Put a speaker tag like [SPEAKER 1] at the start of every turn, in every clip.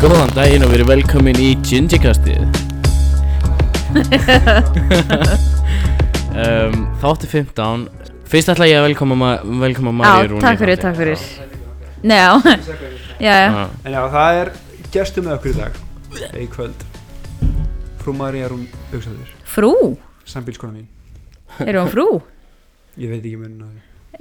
[SPEAKER 1] Góðan daginn og verið velkomin í Gingikastið um, Þáttu 15 Fyrst ætla ég að velkoma, ma velkoma Maríu
[SPEAKER 2] Já,
[SPEAKER 1] Rúni
[SPEAKER 2] takk fyrir, takk fyrir Nei, já, já, já
[SPEAKER 1] Já,
[SPEAKER 3] En já, það er gestur með okkur í dag eða í kvöld Frú Marja Rún Böksadur
[SPEAKER 2] Frú,
[SPEAKER 3] sambílskona mín
[SPEAKER 2] er hún frú? E,
[SPEAKER 3] Ég veit ekki munna Þú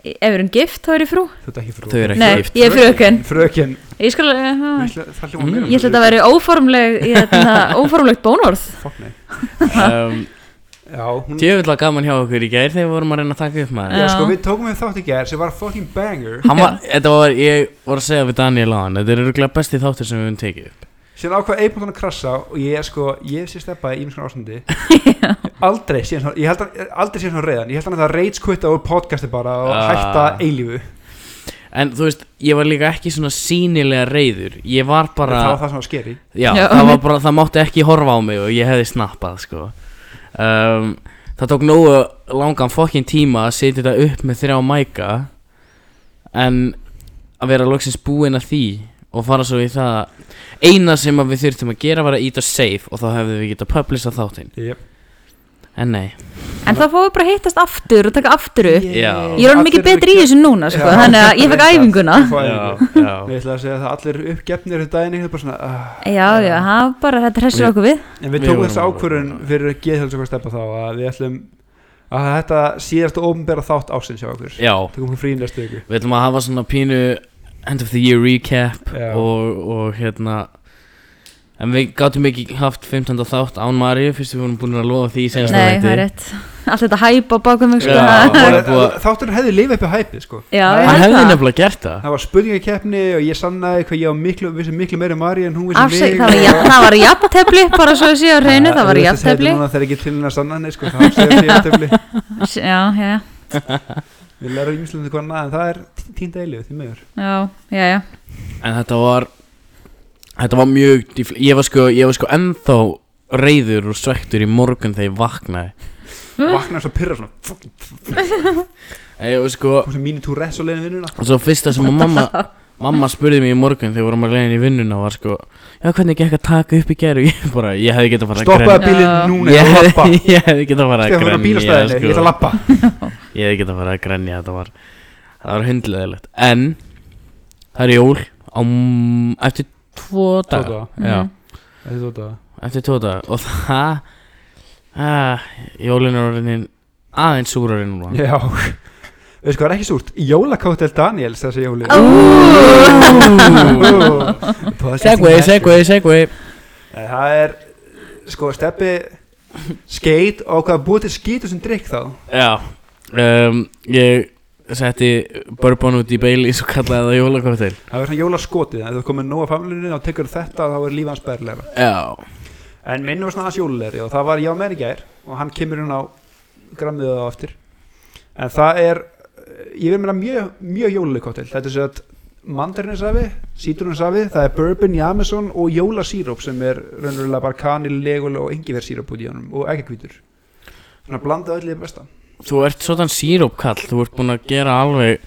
[SPEAKER 2] Ef er hún gift, þá er ég frú
[SPEAKER 3] ert ekki frú
[SPEAKER 1] Þau eru ekki
[SPEAKER 2] Nei,
[SPEAKER 1] gift Mm.
[SPEAKER 2] ég er fröken
[SPEAKER 3] Fröken
[SPEAKER 2] Ég skal,
[SPEAKER 3] Mér
[SPEAKER 2] uh,
[SPEAKER 3] ætla- Það hljóma meira
[SPEAKER 2] ég ætla þetta að vera óformleg hérna, óformlegt bónorð
[SPEAKER 3] Fokk nei
[SPEAKER 1] um,
[SPEAKER 3] Já, hún
[SPEAKER 1] Tjöfull var gaman hjá okkur í gær þegar við vorum að reyna að taka upp maður
[SPEAKER 3] Já,
[SPEAKER 2] Já.
[SPEAKER 3] sko, við tókum við þátt í gerð sem var fucking banger
[SPEAKER 1] Hann var, þetta var, ég var að segja við Daniel á hann Þetta er rúglega besti þáttur sem við höfum tekið upp
[SPEAKER 3] Sér ákvað eipmáttan að krassa og ég, sko, ég sé steppaði í einhvers konar ástandi Aldrei síðan svona, ég held hann, aldrei síðan svona reyðan Ég held hann að það reitskvita úr podcasti bara og
[SPEAKER 1] Ah.
[SPEAKER 3] hætta eilífu
[SPEAKER 1] En þú veist, ég var líka ekki svona sínilega reyður Ég var bara
[SPEAKER 3] Það var það sem var skeri
[SPEAKER 1] Já,
[SPEAKER 2] Já.
[SPEAKER 1] það var bara, það mátti ekki horfa á mig og ég hefði snappað, sko um, Það tók nógu langan fokkin tíma að setja þetta upp með þrjá mæka En að vera loksins búinn að því og fara svo í það Eina sem að við þurftum að gera var að íta save og þá hefðum við getað publisað þáttinn
[SPEAKER 3] yep.
[SPEAKER 1] En nei,
[SPEAKER 2] En þá fáum við bara að hittast aftur og taka aftur upp
[SPEAKER 1] Já.
[SPEAKER 2] Ég er hann mikið betri í þessu núna, sko
[SPEAKER 3] Já.
[SPEAKER 2] Þannig að ég fekk
[SPEAKER 3] Ég veit
[SPEAKER 2] æfinguna
[SPEAKER 3] það. Fá æfingu. Ég
[SPEAKER 1] já
[SPEAKER 3] ætla að segja það að allir eru uppgefnir þetta daginn eitthvað bara svona uh,
[SPEAKER 2] Já, já, það var bara, þetta hressir
[SPEAKER 1] Við-
[SPEAKER 2] okkur við
[SPEAKER 3] En við
[SPEAKER 1] Við
[SPEAKER 3] tókum
[SPEAKER 1] vorum
[SPEAKER 3] þessu
[SPEAKER 1] alveg-
[SPEAKER 3] ákvörðun fyrir geðhjálps okkur stefna þá að við ætlum að þetta síðasta ofnbæra þátt ásins hjá okkur
[SPEAKER 1] Já,
[SPEAKER 3] Tökum hún frí næstu ykkur
[SPEAKER 1] við ætlum að hafa svona pínu end of the year recap
[SPEAKER 3] Já.
[SPEAKER 1] og, og hérna En við gátum ekki haft 15. þátt án Maríu fyrst við vorum búin að lofa því í senast
[SPEAKER 2] Nei, það er rétt Allt þetta hæpa bakum mig, sko
[SPEAKER 1] Já.
[SPEAKER 2] það-
[SPEAKER 1] það er búið-
[SPEAKER 3] Þátturinn hefði lifið upp í hæpið sko
[SPEAKER 2] Já, ég
[SPEAKER 1] Hann
[SPEAKER 2] held
[SPEAKER 1] hefði
[SPEAKER 2] það
[SPEAKER 1] nefnilega gert það
[SPEAKER 3] Það var spurningakeppni og ég sannaði hvað ég á miklu, vissi miklu meira um Mari en hún vissi
[SPEAKER 2] Afsæk,
[SPEAKER 3] mig
[SPEAKER 2] það var
[SPEAKER 3] og-
[SPEAKER 2] jafn- það var jafntefli, bara svo að séu á hreinu, það var
[SPEAKER 3] Þú veist, þetta
[SPEAKER 2] jafntefli
[SPEAKER 3] er núna þegar ekki til hennar sanna nei, sko, það afsækir því jafntefli
[SPEAKER 2] S- Já, já,
[SPEAKER 3] Við lærum ímslunni hvað annað en það er tínda eilíf því meður
[SPEAKER 2] já, já, já.
[SPEAKER 1] En þetta var Þetta var mjög dýfl- Ég var sko, ég var sko ennþá reyður og svektur í morgun þegar ég vaknaði
[SPEAKER 2] Hm?
[SPEAKER 3] Vaknar svo pyrra svona fuck,
[SPEAKER 1] En ég var sko
[SPEAKER 3] Hún sem mínu túr rest á leiðin vinnuna
[SPEAKER 1] Og svo fyrsta sem að mamma Mamma spurði mig í morgun þegar við vorum að leiðin í vinnuna var sko Já hvernig gekk að taka upp í gæru Ég bara, ég hefði getað farið að
[SPEAKER 3] Stoppaði
[SPEAKER 1] grenja
[SPEAKER 2] grenja.
[SPEAKER 3] bílinn
[SPEAKER 2] Já.
[SPEAKER 3] núna
[SPEAKER 1] Ég
[SPEAKER 3] og lappa
[SPEAKER 1] hefði, ég hefði getað farið að
[SPEAKER 3] Stefán er á
[SPEAKER 1] grenja
[SPEAKER 3] bílastæðinu, ég ætla að
[SPEAKER 1] sko.
[SPEAKER 3] lappa
[SPEAKER 1] Ég hefði getað farið að grenja Þetta var, það var hundleðilegt En það er jól á, m- Eftir tvo daga
[SPEAKER 3] daga.
[SPEAKER 1] Já
[SPEAKER 2] Mhm.
[SPEAKER 3] Þetta er þetta
[SPEAKER 1] eftir tvo daga og það uh, jólin er orðin aðeins súrari núna
[SPEAKER 3] Já Veist hvað er ekki súrt? Jólakáttel Daniels þessi jóli
[SPEAKER 2] Ó.
[SPEAKER 1] segway, segway, segway
[SPEAKER 3] Nei, Eh, Það er Sko steppi Skeit og hvað búið til skýtu sem drikk þá
[SPEAKER 1] já um, ég setti bourbon út í Baileys og kallaði það jólakoktel
[SPEAKER 3] Það er svona jólaskotið Ef þú komið nóg af familunni þá tekur þetta og þá er lífans bærleira
[SPEAKER 1] já
[SPEAKER 3] En minn var svona aðeins jólulegri og það var ég á meðan í gær og hann kemur hún á grammið á eftir En það er eh, Ég vil meina mjög, mjög jólulegkottel Þetta er svo að mandarinsafi, sítrunasafi, það er bourbon, jameson og jólasíróp sem er raunverulega bara kanil, legul og engiversíróp út í honum og ekkakvítur. Þannig að blanda öllu í besta.
[SPEAKER 1] þú ert svona sírópkall þú ert búinn að gera alveg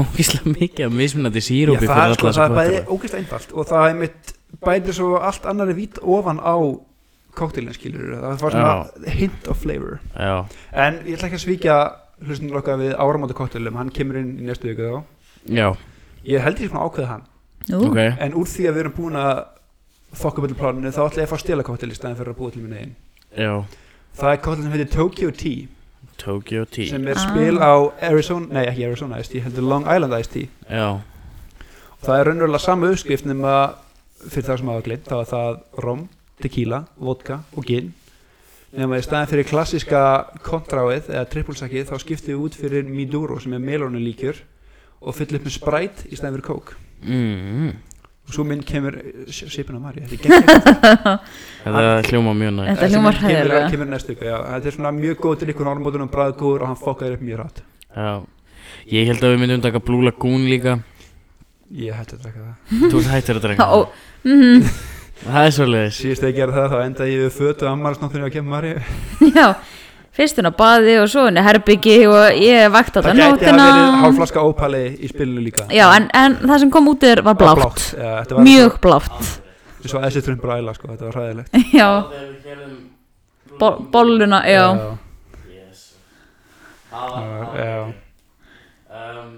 [SPEAKER 1] ógislega mikið að mismunandi sírópi
[SPEAKER 3] það
[SPEAKER 1] fyrir
[SPEAKER 3] er,
[SPEAKER 1] alla
[SPEAKER 3] sko, það er
[SPEAKER 1] þessa
[SPEAKER 3] bæði
[SPEAKER 1] koktela.
[SPEAKER 3] ógæst einfalt og það er mitt bæði svo allt annari vít ofan á kóktelin skilur. Það var svona hint of flavor.
[SPEAKER 1] já
[SPEAKER 3] En ég ætla ekki að svíkja hlustunum lokka við áramóta kóktelum, hann kemur inn í næstu viku þá.
[SPEAKER 1] já
[SPEAKER 3] Ég held ég svona ákveða hann.
[SPEAKER 2] Ú,
[SPEAKER 1] ok
[SPEAKER 3] En úr því að við erum búin að þokka byrju pláninu þá ætla ég að fá að stela kóktel í staðin fyrir að búa til minn einn.
[SPEAKER 1] já
[SPEAKER 3] Það er kóttel sem heitir Tokyo Tea
[SPEAKER 1] Tokyo Tea
[SPEAKER 3] sem er
[SPEAKER 2] Ah.
[SPEAKER 3] spil á Arizona, nei ekki Arizona Iced Tea, heldur Long Island Iced Tea
[SPEAKER 1] já
[SPEAKER 3] og það er raunverulega sama uppskrift nema fyrir það sem hafa glimt, þá er það rom, tequila, vodka og gin nema í staðin fyrir klassiska kontráið eða trippulsakið þá skiptum við út fyrir Miduro sem er melónulíkjur og fyll upp með Sprite í staðin fyrir kók
[SPEAKER 1] mm.
[SPEAKER 3] og svo minn kemur Sipin og Mari, þetta er gegn
[SPEAKER 1] þetta hljóma mjög nægt
[SPEAKER 2] Þetta hljómar hræðilega.
[SPEAKER 3] kemur næstu ykkur, já, þetta er svona mjög góð til ykkur ormbóðunum bræðgóður og hann fokkaður upp mjög rátt
[SPEAKER 1] Já, ég held að við myndum taka Blue Lagoon líka
[SPEAKER 3] ég hætti að drekka það
[SPEAKER 1] Þú ert hættir að drengja
[SPEAKER 2] Ó, mhm,
[SPEAKER 1] Það er svolítið
[SPEAKER 3] Síðast þegar ég gerði það þá endaði ég við fötu ammarasnáttunni á kemur Maríu
[SPEAKER 2] já Fyrst hún á baði og svo henni herbyggi og ég vakt á
[SPEAKER 3] Það
[SPEAKER 2] þetta
[SPEAKER 3] gæti að verið
[SPEAKER 2] nótina
[SPEAKER 3] hálflaska ópali í spilinu líka
[SPEAKER 2] Já, en, en það sem kom út er var
[SPEAKER 3] Það var
[SPEAKER 2] blátt
[SPEAKER 3] Já, þetta var-
[SPEAKER 2] Mjög blátt
[SPEAKER 3] Svo að þessi trump bræla sko, þetta var hræðilegt
[SPEAKER 2] já, bo bolluna, já,
[SPEAKER 1] Yes. Það
[SPEAKER 3] Það var-
[SPEAKER 1] var
[SPEAKER 3] já.
[SPEAKER 1] um,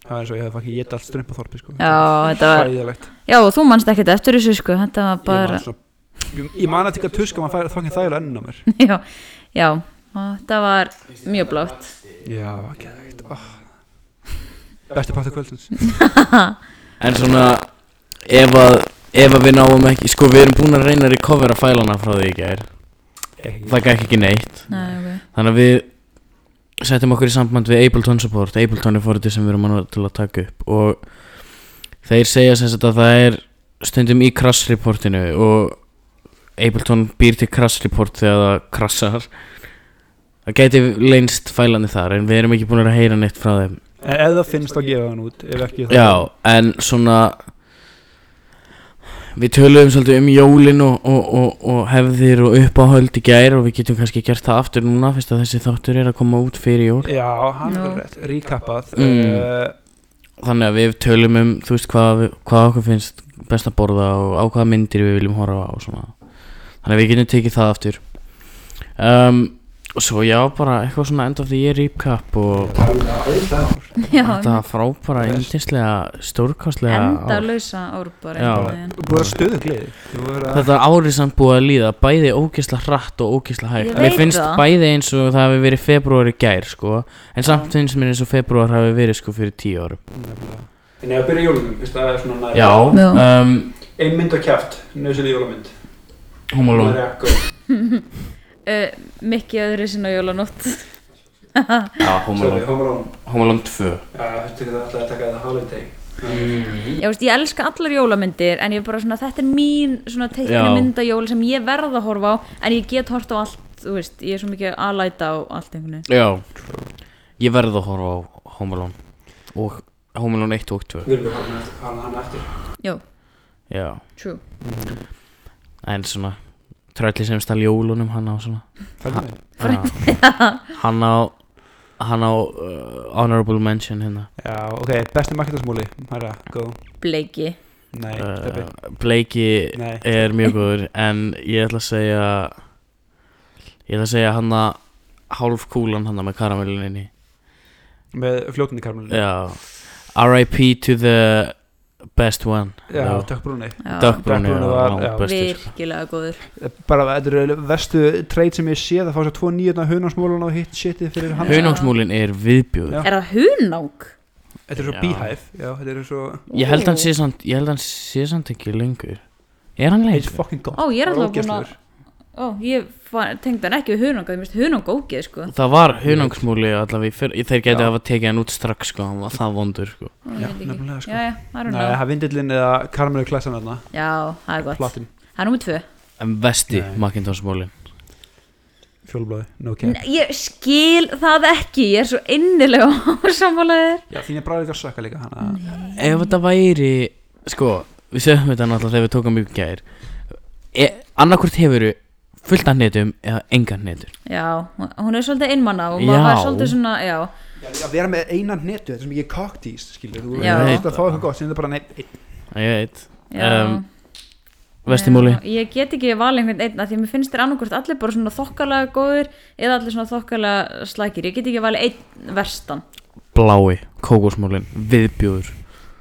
[SPEAKER 3] Það var eins og ég hefði fækkið gett allt strumpaþorpi sko
[SPEAKER 2] já, þetta var,
[SPEAKER 3] Hræðilegt
[SPEAKER 2] já, og þú manst ekkert eftir þessu, sko, þetta var
[SPEAKER 3] Ég man
[SPEAKER 2] bara,
[SPEAKER 3] svo- Ég ég man að tíka tuska, maður færi þangin þægilega ennum á mér
[SPEAKER 2] já, já, og þetta var mjög blátt.
[SPEAKER 3] Já, ekki eitt Besti partur kvöldins
[SPEAKER 1] En svona ef að, ef að við náum ekki Sko við erum búin að reyna að recovera fælana frá því í gær Það gæk ekki neitt
[SPEAKER 2] Nei, ok,
[SPEAKER 1] Þannig að við setjum okkur í samband við Ableton Support Ableton er fórhundið sem við erum að nota til að taka upp og þeir segja sem sagt að það er stundum í crash reportinu og Ableton býr til crash report þegar það crashar það gæti leynst fælandi þar en við erum ekki búin að heyra neitt frá þeim
[SPEAKER 3] En ef það finnst að gefa hann út, ef ekki þá
[SPEAKER 1] Já, en svona Við töluðum svolítið um jólin og, og, og, og hefðir og uppáhöld í gær og við getum kannski gert það aftur núna fyrst að þessi þáttur er að koma út fyrir jól
[SPEAKER 3] Já, hann
[SPEAKER 2] Já.
[SPEAKER 3] er rétt, ríkappað
[SPEAKER 1] Mm.
[SPEAKER 3] uh,
[SPEAKER 1] Þannig að við tölum um, þú veist, hvað, við- hvað okkur finnst best að borða og á hvaða myndir við viljum horfa á og svona Þannig að við getum tekið það aftur um, Og svo já, bara eitthvað svona end of the year recap og
[SPEAKER 2] já,
[SPEAKER 1] þetta frábæra, yndislega, stórkastlega
[SPEAKER 2] endalausa ár bara,
[SPEAKER 1] Já.
[SPEAKER 2] einhvern veginn.
[SPEAKER 3] Búið að stuðu gleði Þú voru að
[SPEAKER 1] Þetta árið samt búið að líða bæði ógisla hratt og ógisla hægt
[SPEAKER 2] Ég
[SPEAKER 1] Mér
[SPEAKER 2] veit
[SPEAKER 1] finnst
[SPEAKER 2] það.
[SPEAKER 1] bæði eins og það hafi verið februari gær sko En samt finnst mér eins og februar hafi verið sko fyrir tíu árum
[SPEAKER 3] En ef að byrja jólunum, veist það er svona næri
[SPEAKER 1] Já,
[SPEAKER 2] Já.
[SPEAKER 1] um,
[SPEAKER 3] Ein mynd og kjæft, nöðsileg jólamynd
[SPEAKER 1] Home Alone
[SPEAKER 2] Eh, Mikki öðru sinna jólanótt.
[SPEAKER 1] Já, Home Alone,
[SPEAKER 3] Homalón
[SPEAKER 1] Home Alone 2
[SPEAKER 3] Þetta er alltaf að taka það holiday
[SPEAKER 1] Mm.
[SPEAKER 2] Já, veist, ég elska allar jólamyndir en ég er bara svona, þetta er mín svona teikna
[SPEAKER 1] Já.
[SPEAKER 2] myndajól sem ég verð að horfa á en ég get horft á allt, þú veist, ég er svo mikið aðlæta á allt einhvern veginn.
[SPEAKER 1] Já, ég verð að horfa á Home Alone Og Home Alone 1 og 2
[SPEAKER 3] Við erum að hala hann eftir
[SPEAKER 2] Jó,
[SPEAKER 1] Já,
[SPEAKER 2] true.
[SPEAKER 1] en svona Trölli sem stæl jólunum hann á svona
[SPEAKER 3] Fælum við
[SPEAKER 1] Já. Hann á Hann á uh, Honorable Mention hérna
[SPEAKER 3] Já, ok, besti marketasmúli Hæra, góð
[SPEAKER 2] Bleiki.
[SPEAKER 3] Nei,
[SPEAKER 1] uh,
[SPEAKER 3] steppi
[SPEAKER 1] Bleiki
[SPEAKER 3] Nei,
[SPEAKER 1] er mjög góður en ég ætla að segja ég ætla að segja hann að hálf kúlan hann með karamellinni
[SPEAKER 3] með fljótandi karmelinu
[SPEAKER 1] já R.I.P. to the best one
[SPEAKER 3] Já, takk brúni
[SPEAKER 2] Já,
[SPEAKER 1] Dökkbrúni
[SPEAKER 3] Dökkbrúni
[SPEAKER 1] var
[SPEAKER 3] var-
[SPEAKER 1] langbestur sko.
[SPEAKER 2] virkilega góður.
[SPEAKER 3] Eh, Bara, þetta eru vestu treyt sem ég sé Það fá sér tvo nýjötna hunásmúlan og hitt shitið fyrir hann
[SPEAKER 2] Hau-
[SPEAKER 1] Hunásmúlin er viðbjóður
[SPEAKER 3] Já.
[SPEAKER 2] Er það hunang?
[SPEAKER 3] Þetta er svo
[SPEAKER 1] Já.
[SPEAKER 3] beehive Já, þetta er svo
[SPEAKER 1] ég held hann sé samt ég held hann sé samt ekki lengur er hann
[SPEAKER 3] It's
[SPEAKER 1] lengur?
[SPEAKER 3] fucking gone
[SPEAKER 2] Ó, ég er
[SPEAKER 3] Bara
[SPEAKER 2] alltaf búin að,
[SPEAKER 3] ógeðslegur.
[SPEAKER 2] ó, ég fa- tengdi hann ekki við hunang, það mist hunang ógeð, sko.
[SPEAKER 1] það var hunangsmúli allavega í fyrr þeir gæti
[SPEAKER 3] Já.
[SPEAKER 1] hafa tekið hann út strax sko hann var það vondur sko
[SPEAKER 2] Ó,
[SPEAKER 3] Já,
[SPEAKER 2] ég veit ekki.
[SPEAKER 3] nefnilega
[SPEAKER 2] Já,
[SPEAKER 3] sko
[SPEAKER 2] já, I don't
[SPEAKER 3] Nei,
[SPEAKER 2] know.
[SPEAKER 3] það er vindillin eða karmelu klæsan þarna
[SPEAKER 2] Já, það er gott.
[SPEAKER 3] Platin,
[SPEAKER 2] Það er nummið tvö.
[SPEAKER 1] en vesti
[SPEAKER 3] Nei.
[SPEAKER 1] Macintosh-múlin
[SPEAKER 3] fjólblóði, no cap
[SPEAKER 2] Nei, Ég skil það ekki, ég er svo innilega ásamálaðir.
[SPEAKER 3] Já, þín er bræðið að sökka líka hana
[SPEAKER 1] ef þetta væri sko, við sögum þetta náttúrulega þegar við tókum mjög gæðir e, annarkvort hefur fullt af netum eða engan netur
[SPEAKER 2] Já, hún- hún er svolítið einmanna og
[SPEAKER 1] Já.
[SPEAKER 2] maður var svolítið svona, já,
[SPEAKER 3] Já, að vera með einan netu, þetta er sem ekki cocktease, skilur Þú
[SPEAKER 2] Já.
[SPEAKER 3] veist að fá eitthvað gott, sem þetta er bara neitt
[SPEAKER 1] ég veit,
[SPEAKER 2] já.
[SPEAKER 1] Um, vestimúli
[SPEAKER 2] Já, Ég get ekki valið einhvern einn að því að mér finnst þér annarkvort allir bara svona þokkalega góður eða allir svona þokkalega slækir. Ég get ekki valið einn verstan.
[SPEAKER 1] blái, kókosmúlin, viðbjóður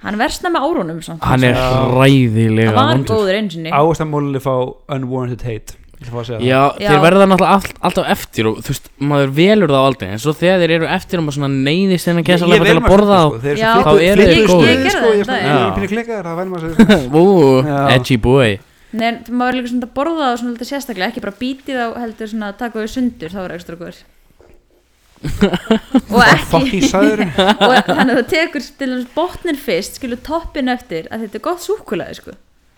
[SPEAKER 2] Hann versna með árunum samt.
[SPEAKER 1] hann er
[SPEAKER 3] Já.
[SPEAKER 2] Það
[SPEAKER 1] hræðilega
[SPEAKER 2] var
[SPEAKER 1] vondur.
[SPEAKER 2] góður einu sinni.
[SPEAKER 3] Áastamóluleg fá unwarranted hate Ég ætla að fá að segja
[SPEAKER 1] Já,
[SPEAKER 2] Já.
[SPEAKER 1] þeir verða náttúrulega all, alltaf eftir og þú veist, maður velur það á aldrei en svo þegar þeir eru eftir og maður svona neyðist innan
[SPEAKER 3] Ég- ég
[SPEAKER 1] kæsalega til
[SPEAKER 3] vel
[SPEAKER 1] að
[SPEAKER 3] maður
[SPEAKER 1] borða
[SPEAKER 3] sko,
[SPEAKER 1] þá
[SPEAKER 3] þeir
[SPEAKER 2] Já.
[SPEAKER 3] eru
[SPEAKER 1] Þá
[SPEAKER 3] svo
[SPEAKER 1] eru þeir
[SPEAKER 3] flippuð-
[SPEAKER 1] góðir.
[SPEAKER 3] flippuð
[SPEAKER 2] Ég- ég
[SPEAKER 3] sko,
[SPEAKER 2] gerði
[SPEAKER 3] ég
[SPEAKER 2] það
[SPEAKER 1] um daginn.
[SPEAKER 3] er pínu klikkar, það væri maður að segja
[SPEAKER 1] Ú,
[SPEAKER 3] sko. Já.
[SPEAKER 1] edgy boy
[SPEAKER 2] Nei, en maður er líka svona að borða það svona litið sérstaklega, ekki bara bítið á heldur svona að taka þau sundur, það var ekstra góður. og
[SPEAKER 3] Það er
[SPEAKER 2] ekki,
[SPEAKER 3] fucking sæður
[SPEAKER 2] og þannig að þú tekur til þess botnin fyrst, skilur toppin eftir, að þetta er gott súkulega, sko.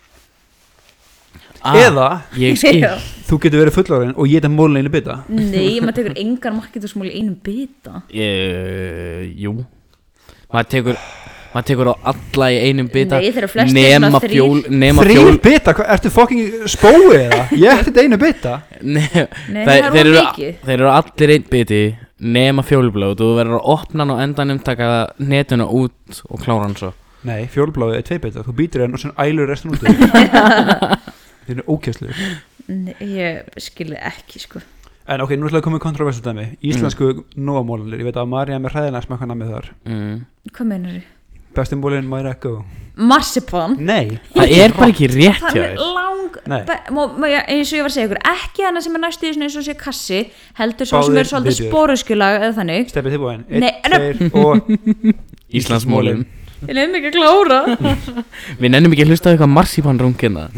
[SPEAKER 1] Ah,
[SPEAKER 3] Eða,
[SPEAKER 1] Ég skil
[SPEAKER 2] Já.
[SPEAKER 3] þú getur verið fullorinn og ég er móluleg einu bita
[SPEAKER 2] Nei, maður tekur engan marketusmúli í einum bita
[SPEAKER 1] Uh, jú maður tekur maður tekur á alla í einum bita
[SPEAKER 2] Nei, þeir eru flestir
[SPEAKER 1] nema
[SPEAKER 2] svona þrír.
[SPEAKER 1] fjól nema
[SPEAKER 3] Þrjú
[SPEAKER 1] fjól
[SPEAKER 3] bita, hvað- ertu fucking spóið eða? Ég ætti þetta einu bita
[SPEAKER 1] Nei,
[SPEAKER 2] Nei,
[SPEAKER 1] þeir,
[SPEAKER 2] það
[SPEAKER 1] þeir,
[SPEAKER 2] er of
[SPEAKER 1] eru,
[SPEAKER 2] mikið.
[SPEAKER 1] þeir eru allir einn biti um, nema fjólblóð og þú verður að opna hann og endanum taka netuna út og klára hann svo
[SPEAKER 3] Nei, fjólbláðið er tveibita, þú býtir henn og sem ælur restin út Þeir eru ókjæslu
[SPEAKER 2] Nei, ég skilði ekki sko
[SPEAKER 3] En ok, nú ætlaði að koma í kontroversu dæmi Íslensku mm. nóamólulir, ég veit að Marja er með hræðina smakka namið þar
[SPEAKER 1] mm.
[SPEAKER 2] Hvað meinar þið?
[SPEAKER 3] Bestimólin might not go
[SPEAKER 2] Marsipan
[SPEAKER 3] Nei,
[SPEAKER 1] Það er bara ekki rétt
[SPEAKER 2] Það
[SPEAKER 1] hjá
[SPEAKER 2] er
[SPEAKER 1] þér
[SPEAKER 2] lang
[SPEAKER 3] Nei.
[SPEAKER 2] be- má- má ég- eins og ég var að segja ykkur ekki hana sem er næstu í svona eins og sé kassi heldur svo sem
[SPEAKER 3] Báðir
[SPEAKER 2] er svolítið
[SPEAKER 3] byrjuðir.
[SPEAKER 2] spóruskjulag eða þannig
[SPEAKER 3] stefið tilbúin
[SPEAKER 2] Nei,
[SPEAKER 3] tveir og
[SPEAKER 1] Íslandsmólin
[SPEAKER 2] Ég lefum ekki að klóra
[SPEAKER 1] Við nennum ekki að hlusta á eitthvað marsipan rungina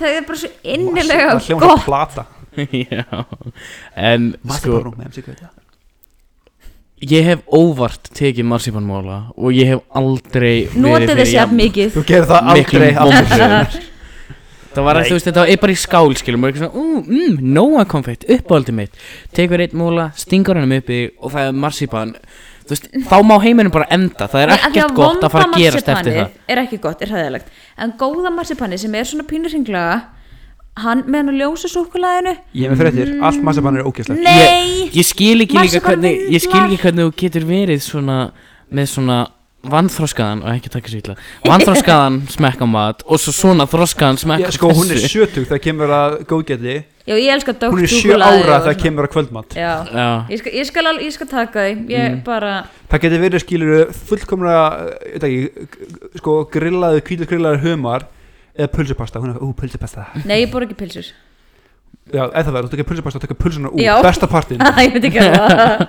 [SPEAKER 2] Það er bara svo innilega
[SPEAKER 3] Það hljóma
[SPEAKER 2] gott
[SPEAKER 3] svo plata
[SPEAKER 1] Já En sko
[SPEAKER 3] Vassibarúm, MC Gauta
[SPEAKER 1] Ég hef óvart tekið marsipanmóla Og ég hef aldrei verið
[SPEAKER 2] Notið
[SPEAKER 1] fyrir
[SPEAKER 2] þessi að
[SPEAKER 1] jafn-
[SPEAKER 2] mikið
[SPEAKER 3] Þú gerir það
[SPEAKER 1] miklum
[SPEAKER 3] aldrei
[SPEAKER 1] vonbrigðum.
[SPEAKER 3] aftur.
[SPEAKER 1] Það var
[SPEAKER 3] Nei.
[SPEAKER 1] að þú veist þetta var bara í skál skilum og eitthvað svona, ú, mm, nóa konfekt, uppáhaldið mitt tekur einn múla, stingur hennum uppi og það er marsipan þú veist, þá má heimurinn bara enda, það er
[SPEAKER 2] Nei, af því
[SPEAKER 1] ekkert gott
[SPEAKER 2] vonda
[SPEAKER 1] að fara að gerast eftir
[SPEAKER 2] marsipanið
[SPEAKER 1] það
[SPEAKER 2] er ekki gott, er hæðilegt en góða marsipanið sem er svona pínur hringlega hann með hann að ljósa súkulæðinu
[SPEAKER 3] Ég er með fréttir, allt marsipan er ókjæslegt
[SPEAKER 2] Mm. nei,
[SPEAKER 1] Ég skil ekki líka
[SPEAKER 2] Marsipan
[SPEAKER 1] hvernig, ég skil
[SPEAKER 2] vindlar.
[SPEAKER 1] ekki hvernig þú getur verið svona, með svona vannþroskaðan, og ekki taka svo illa vannþroskaðan smekka mat og svo svona þroskaðan smekka
[SPEAKER 3] Ég, sko, hún er sjötug þegar kemur að góðgæti
[SPEAKER 2] já ég elska dögt
[SPEAKER 3] Hún er sjö ára þegar kemur að kvöldmatt
[SPEAKER 2] já,
[SPEAKER 1] Já,
[SPEAKER 2] ég skal, ég skal, al, ég skal taka því ég
[SPEAKER 1] Mm.
[SPEAKER 2] bara,
[SPEAKER 3] Það getur verið skilur fullkomna eh, veit ekki, g- sko, grillaðu, hvítur grillaðu humar eða pulsupasta, hún er ú, pulsupasta
[SPEAKER 2] nei ég bor ekki pilsur
[SPEAKER 3] Já, eða það, þú tekir pulsupasta og tekir pulsuna út,
[SPEAKER 2] Já.
[SPEAKER 3] besta partinn
[SPEAKER 2] ég veit ekki að það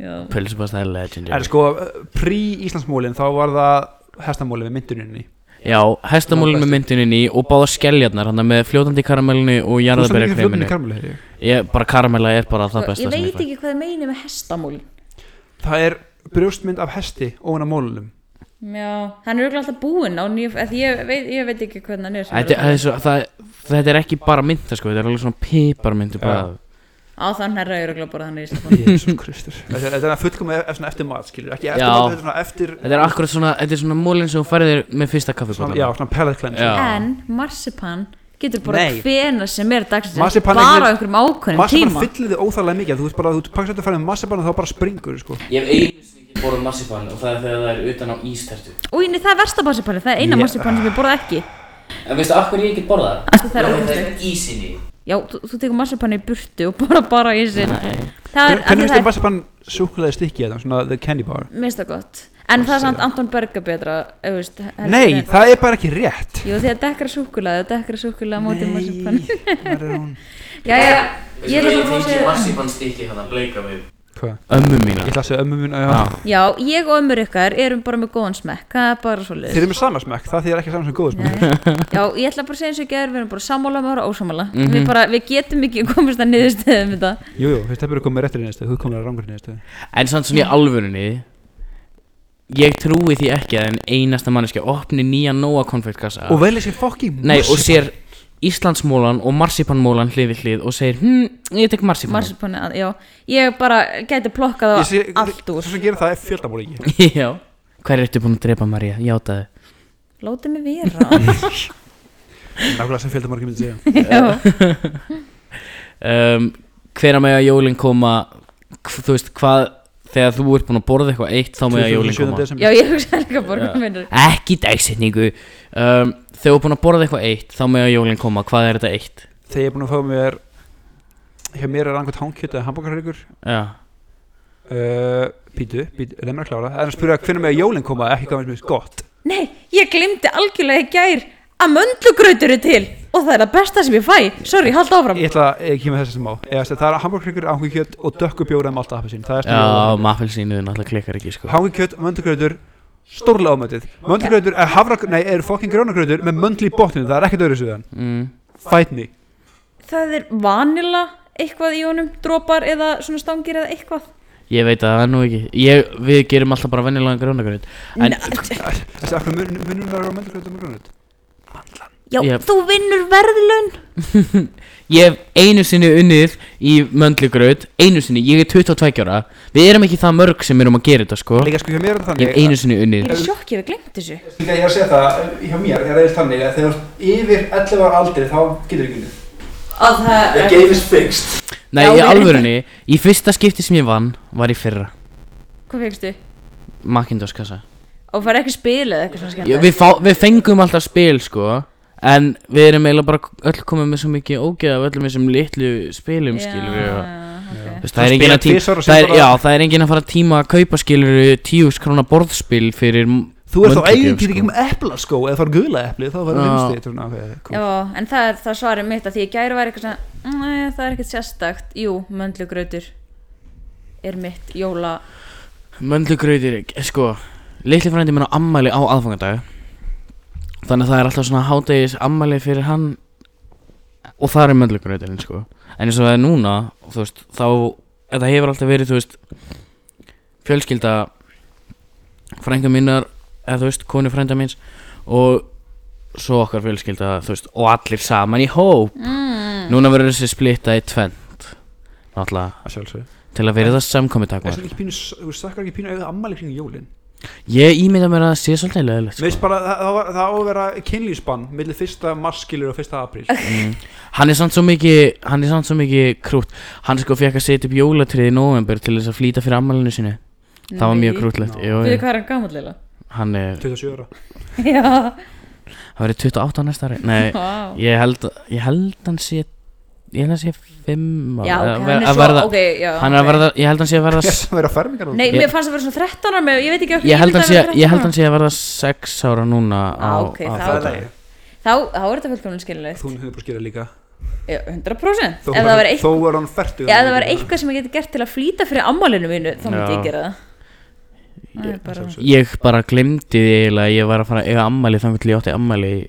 [SPEAKER 2] já,
[SPEAKER 1] pulsupasta er legendary
[SPEAKER 3] En sko, prí-Íslandsmólin þá var það hestamólin með mynduninni
[SPEAKER 1] Já, hestamúlin með myndinni í og báða skelljarnar, hann með fljótandi karamellinu og
[SPEAKER 3] Þú veist það
[SPEAKER 1] jarðabæri
[SPEAKER 3] ekki fljóðinni karmölu, heyr ég
[SPEAKER 1] Ég, bara karamella er bara það besta
[SPEAKER 2] Sko, ég
[SPEAKER 1] sem ég
[SPEAKER 2] veit
[SPEAKER 1] fæ
[SPEAKER 2] ekki hvað það meini með hestamúl
[SPEAKER 3] Það er brjóstmynd af hesti óan af mólunum
[SPEAKER 2] já, hann er auðvitað alltaf búinn á nýju, af því ég veit, ég veit ekki hvernig hann er sko. sem
[SPEAKER 1] Þetta
[SPEAKER 2] er
[SPEAKER 1] það er svo, það, þetta er ekki bara mynda sko, þetta er alveg svona piparmyndu bara
[SPEAKER 2] á þann herra auðvitað bara hann er í Íslandi
[SPEAKER 3] Jésus Kristur Þetta er- þetta er fullkomið eftir, eftir mat, skilur Ekki eftir
[SPEAKER 1] Já.
[SPEAKER 3] mat, þetta er svona eftir
[SPEAKER 1] Þetta er akkurat svona, þetta er svona múlinn sem þú færið þér með fyrsta
[SPEAKER 3] svona,
[SPEAKER 1] kaffibóla
[SPEAKER 3] Já, svona pellet cleanse
[SPEAKER 1] Já.
[SPEAKER 2] en marsipan getur bara
[SPEAKER 3] Nei.
[SPEAKER 2] hvena sem er dagsins
[SPEAKER 3] Marsipan
[SPEAKER 2] bara á
[SPEAKER 3] er-
[SPEAKER 2] einhverjum ákveðnum
[SPEAKER 3] Massabann
[SPEAKER 2] tíma
[SPEAKER 3] fyllir þið óþarlega mikið Þú veist bara, þú pakkst þetta að fara með massabann og þá bara springur sko.
[SPEAKER 1] Ég hef einu sinni borðið massipan og það er þegar það er utan á ístertu
[SPEAKER 2] og inni það er versta marsipanið, það er eina
[SPEAKER 3] Ég-
[SPEAKER 2] marsipanið sem ég borða ekki
[SPEAKER 1] En veistu, af hverju ég ekki borða það?
[SPEAKER 2] Af því það er ógeðslegt.
[SPEAKER 1] er ísinni
[SPEAKER 2] já, þú, þú tekur marsipanið í burtu og bara bara í sin það er,
[SPEAKER 3] Hvernig
[SPEAKER 2] af því það
[SPEAKER 3] finnst þið
[SPEAKER 2] er
[SPEAKER 3] massabann súkulega stikki þetta, svona the candy bar
[SPEAKER 2] minnst það gott en það er samt Anton Berga betra ef þú veist, heldur
[SPEAKER 3] Nei,
[SPEAKER 2] en-
[SPEAKER 3] það er bara ekki rétt
[SPEAKER 2] Jú, því að dekkra súkulaði, dekkra súkulaði mótið marsipan.
[SPEAKER 3] hvar er hún?
[SPEAKER 2] Jæja, ég ætla bara að fá að segja...
[SPEAKER 1] massipan stikki hann að bleika mig
[SPEAKER 3] Hvað?
[SPEAKER 1] Ömmu mína
[SPEAKER 3] Ég ætla að segja ömmu mun
[SPEAKER 1] Já.
[SPEAKER 2] Já, ég og ömur ykkar erum bara með góðan smekk, það er bara svo
[SPEAKER 3] Þeir eru með sama smekk, það þýðir ekki saman sem góðu smekk
[SPEAKER 2] Já, ég ætla bara að segja eins og gerður, við erum bara sammála með ára ósammála við, bara, við getum ekki komist að niðurstöðum þetta
[SPEAKER 3] Jú, jú, þeir stefnir að koma með réttir nýðstöð, þú komir að rangur nýðstöð
[SPEAKER 1] En samt svona í alvörunni Ég trúi því ekki að en einasta manneskja opni nýja Nóa konfektkassa
[SPEAKER 3] Og velja sér fokking
[SPEAKER 1] Nei, og sér Íslandsmólan og marsipanmólan hlið við hlið og segir, hm, ég tek marsipan
[SPEAKER 2] Marsipani, að- já, ég bara gæti plokkað á allt úr
[SPEAKER 3] Svo sem gerir það er fjöldamólingi
[SPEAKER 1] Já Hver ertu búin að drepa María? Játaði
[SPEAKER 2] Látið mig vera
[SPEAKER 3] Nákvæmlega sem fjöldamólingi myndi segja
[SPEAKER 2] Já,
[SPEAKER 1] um, Hver að mega jólin koma hv- Þú veist hvað Þegar þú ert búin að borða eitthvað eitt þá mega jólin
[SPEAKER 3] 27.
[SPEAKER 1] koma
[SPEAKER 2] já
[SPEAKER 3] desember.
[SPEAKER 2] ég hugsa líka borga minnur
[SPEAKER 1] Ekki dagsetningu um, Þegar þú ert búin að borða eitthvað eitt þá mega jólin koma Hvað er þetta eitt?
[SPEAKER 3] Þegar ég er búin að fá mér Hjá mér er angvöld hánkjöt eða hambúkarryggur
[SPEAKER 1] Já
[SPEAKER 3] Uh, Pítu, pítu, leið mér að klára Það er að spyrja hvernig með jólinn koma ekki hvað mér finnst gott
[SPEAKER 2] Nei, ég glimti algjörlega í gær að möndlugrautur er til og það er það besta sem ég fæ Sorry, hald áfram
[SPEAKER 3] Ég ætla að ekki með þess að smá Eða, sem Það er hambúrkryggur, ángvíkjöt og dökkubjóra með alltaf appelsín Það er
[SPEAKER 1] Já,
[SPEAKER 3] stundum
[SPEAKER 1] maffelsínu náttúrulega klikkar ekki sko
[SPEAKER 3] Hangvíkjöt, möndugröður, stórlega ámöndið Möndugröður er havra, nei, er fokkin grónagröður með möndli í botninu, það er ekkert öðru suðan
[SPEAKER 1] mm.
[SPEAKER 3] Fight me
[SPEAKER 2] Það er vanila eitthvað í honum, dropar eða svona stangir eða eitthvað
[SPEAKER 1] Ég veit að það er nú ekki ég, Við gerum alltaf bara venjulegan grónagrönd En
[SPEAKER 3] Þessi, af hverju mun- munur verður á möndugröður með grónut?
[SPEAKER 2] Já,
[SPEAKER 1] Ég-
[SPEAKER 2] þú vinnur verðlun
[SPEAKER 1] Ég hef einu sinni unnið í möndlugraut Einu sinni, ég er 22 ára Við erum ekki það mörg sem erum að gera þetta sko
[SPEAKER 3] Líka sko hjá mér er það
[SPEAKER 1] Ég
[SPEAKER 3] þannig
[SPEAKER 1] hef einu sinni
[SPEAKER 2] Ég
[SPEAKER 1] unnið
[SPEAKER 2] er sjokk ég við glimt þessu
[SPEAKER 3] Líka ég er að segja það, hjá mér er það eiginlega þannig að þegar þú ert yfir 11 ára aldri þá getur ekki unnið.
[SPEAKER 2] Að það
[SPEAKER 3] The game is fixed.
[SPEAKER 1] Nei,
[SPEAKER 2] Já,
[SPEAKER 1] í
[SPEAKER 2] við-
[SPEAKER 1] alvörunni Í fyrsta skipti sem ég vann var í fyrra
[SPEAKER 2] Hvað fegstu?
[SPEAKER 1] Macintosh kassa
[SPEAKER 2] Ó, og fara ekki spila eða eitthvað svona
[SPEAKER 1] Já,
[SPEAKER 2] skemmt
[SPEAKER 1] við, fá, við fengum alltaf spil sko En við erum eiginlega bara öll komið með svo mikið ógeða af öllum þessum litlu spilum skilur við og- Þú veist, Það er
[SPEAKER 3] Þú
[SPEAKER 1] enginn
[SPEAKER 3] spilar
[SPEAKER 1] að tíma
[SPEAKER 3] tvisvar og
[SPEAKER 1] það er,
[SPEAKER 3] síðan bara-
[SPEAKER 1] Já, það er enginn að fara að tíma að kaupa skilur við tíus króna borðspil fyrir
[SPEAKER 3] Þú ert þá
[SPEAKER 1] Möndugjöf,
[SPEAKER 3] eigin
[SPEAKER 1] sko.
[SPEAKER 3] ekki með eplaskó eða það er gula epli þá verður
[SPEAKER 1] Já.
[SPEAKER 3] fimmstíð okay,
[SPEAKER 2] Já, en það er það svarið mitt að því ég gæri var eitthvað svona "Mm, "Nei, það er ekkert sérstakt, jú, möndlugrautur er mitt jóla
[SPEAKER 1] Möndlugrautir, sko Litli frændi minn á ammæli á aðfangadag Þannig að það er alltaf svona hádegis ammæli fyrir hann Og það er möndlugrautirinn, sko En eins og það er núna, þú veist, þá Þetta hefur alltaf verið, þú veist Fjölskylda Frænga mínar, eða þú veist, konu frænda míns Og svo okkar fjölskylda, þú veist Og allir saman í hóp
[SPEAKER 2] mm.
[SPEAKER 1] Núna verður þessi splitta í tvent Náttúrulega,
[SPEAKER 3] að sjálfsög
[SPEAKER 1] til að verið það samkomið
[SPEAKER 3] Það er ekki pínu, þú sakkar ekki pínu auðvitað ammali kring jólin
[SPEAKER 1] Ég ímynda mér að það sé svolítið leðilegt
[SPEAKER 3] Mér
[SPEAKER 1] sko.
[SPEAKER 3] veist bara, það, það, var- það á að vera kynlýsbann millir fyrsta marskilur og fyrsta apríl
[SPEAKER 2] Mm.
[SPEAKER 1] Hann er samt svo mikið Hann er samt svo mikið krútt Hann sko fekk að setja upp jólatrið í november Til þess að flýta fyrir ammælinu sinu Það var mjög krúttlegt
[SPEAKER 3] Ná.
[SPEAKER 1] Jú,
[SPEAKER 2] Við
[SPEAKER 1] jú.
[SPEAKER 2] hvað er hann gamallega?
[SPEAKER 1] Hann er
[SPEAKER 3] 27 ára
[SPEAKER 2] Já,
[SPEAKER 1] Það verið 28 á næsta ári Nei
[SPEAKER 2] vá
[SPEAKER 1] Ég held Ég held hann sé Ég held hann sé 5
[SPEAKER 2] Já, ok, hann er svo, ok, já
[SPEAKER 1] Hann er að
[SPEAKER 2] ok.
[SPEAKER 1] verða Ég held hann sé að verða
[SPEAKER 3] Yes, það verður að fermingar
[SPEAKER 2] Nei,
[SPEAKER 1] Ég-
[SPEAKER 2] mér fannst að vera svona 13 ára með, ég veit ekki af hverju
[SPEAKER 1] Ég held hann
[SPEAKER 2] ímyndaði
[SPEAKER 1] sé
[SPEAKER 2] mér
[SPEAKER 1] Ég held
[SPEAKER 2] 13
[SPEAKER 1] hann sé að verða 6 ára núna á,
[SPEAKER 2] Á, Ah, ok,
[SPEAKER 1] á
[SPEAKER 2] það
[SPEAKER 3] Það
[SPEAKER 1] föstudag.
[SPEAKER 3] er lagi,
[SPEAKER 2] Þá, þá er þetta fullkomlega skilulegt
[SPEAKER 3] þú hefur bara skilja líka
[SPEAKER 2] Já, 100%
[SPEAKER 3] Þó
[SPEAKER 2] Ef það var
[SPEAKER 3] var-
[SPEAKER 2] eitt
[SPEAKER 3] Þó var hann fertug
[SPEAKER 2] Já, ef það var eitthvað sem ég geti gert til að flýta fyrir ammálinu mínu, þá myndi
[SPEAKER 1] Já.
[SPEAKER 2] ég gera það. Það er bara,
[SPEAKER 1] Ég bara glemdi því eiginlega að Ég var að fara að eiga ammæli Þannig til ég átti ammæli í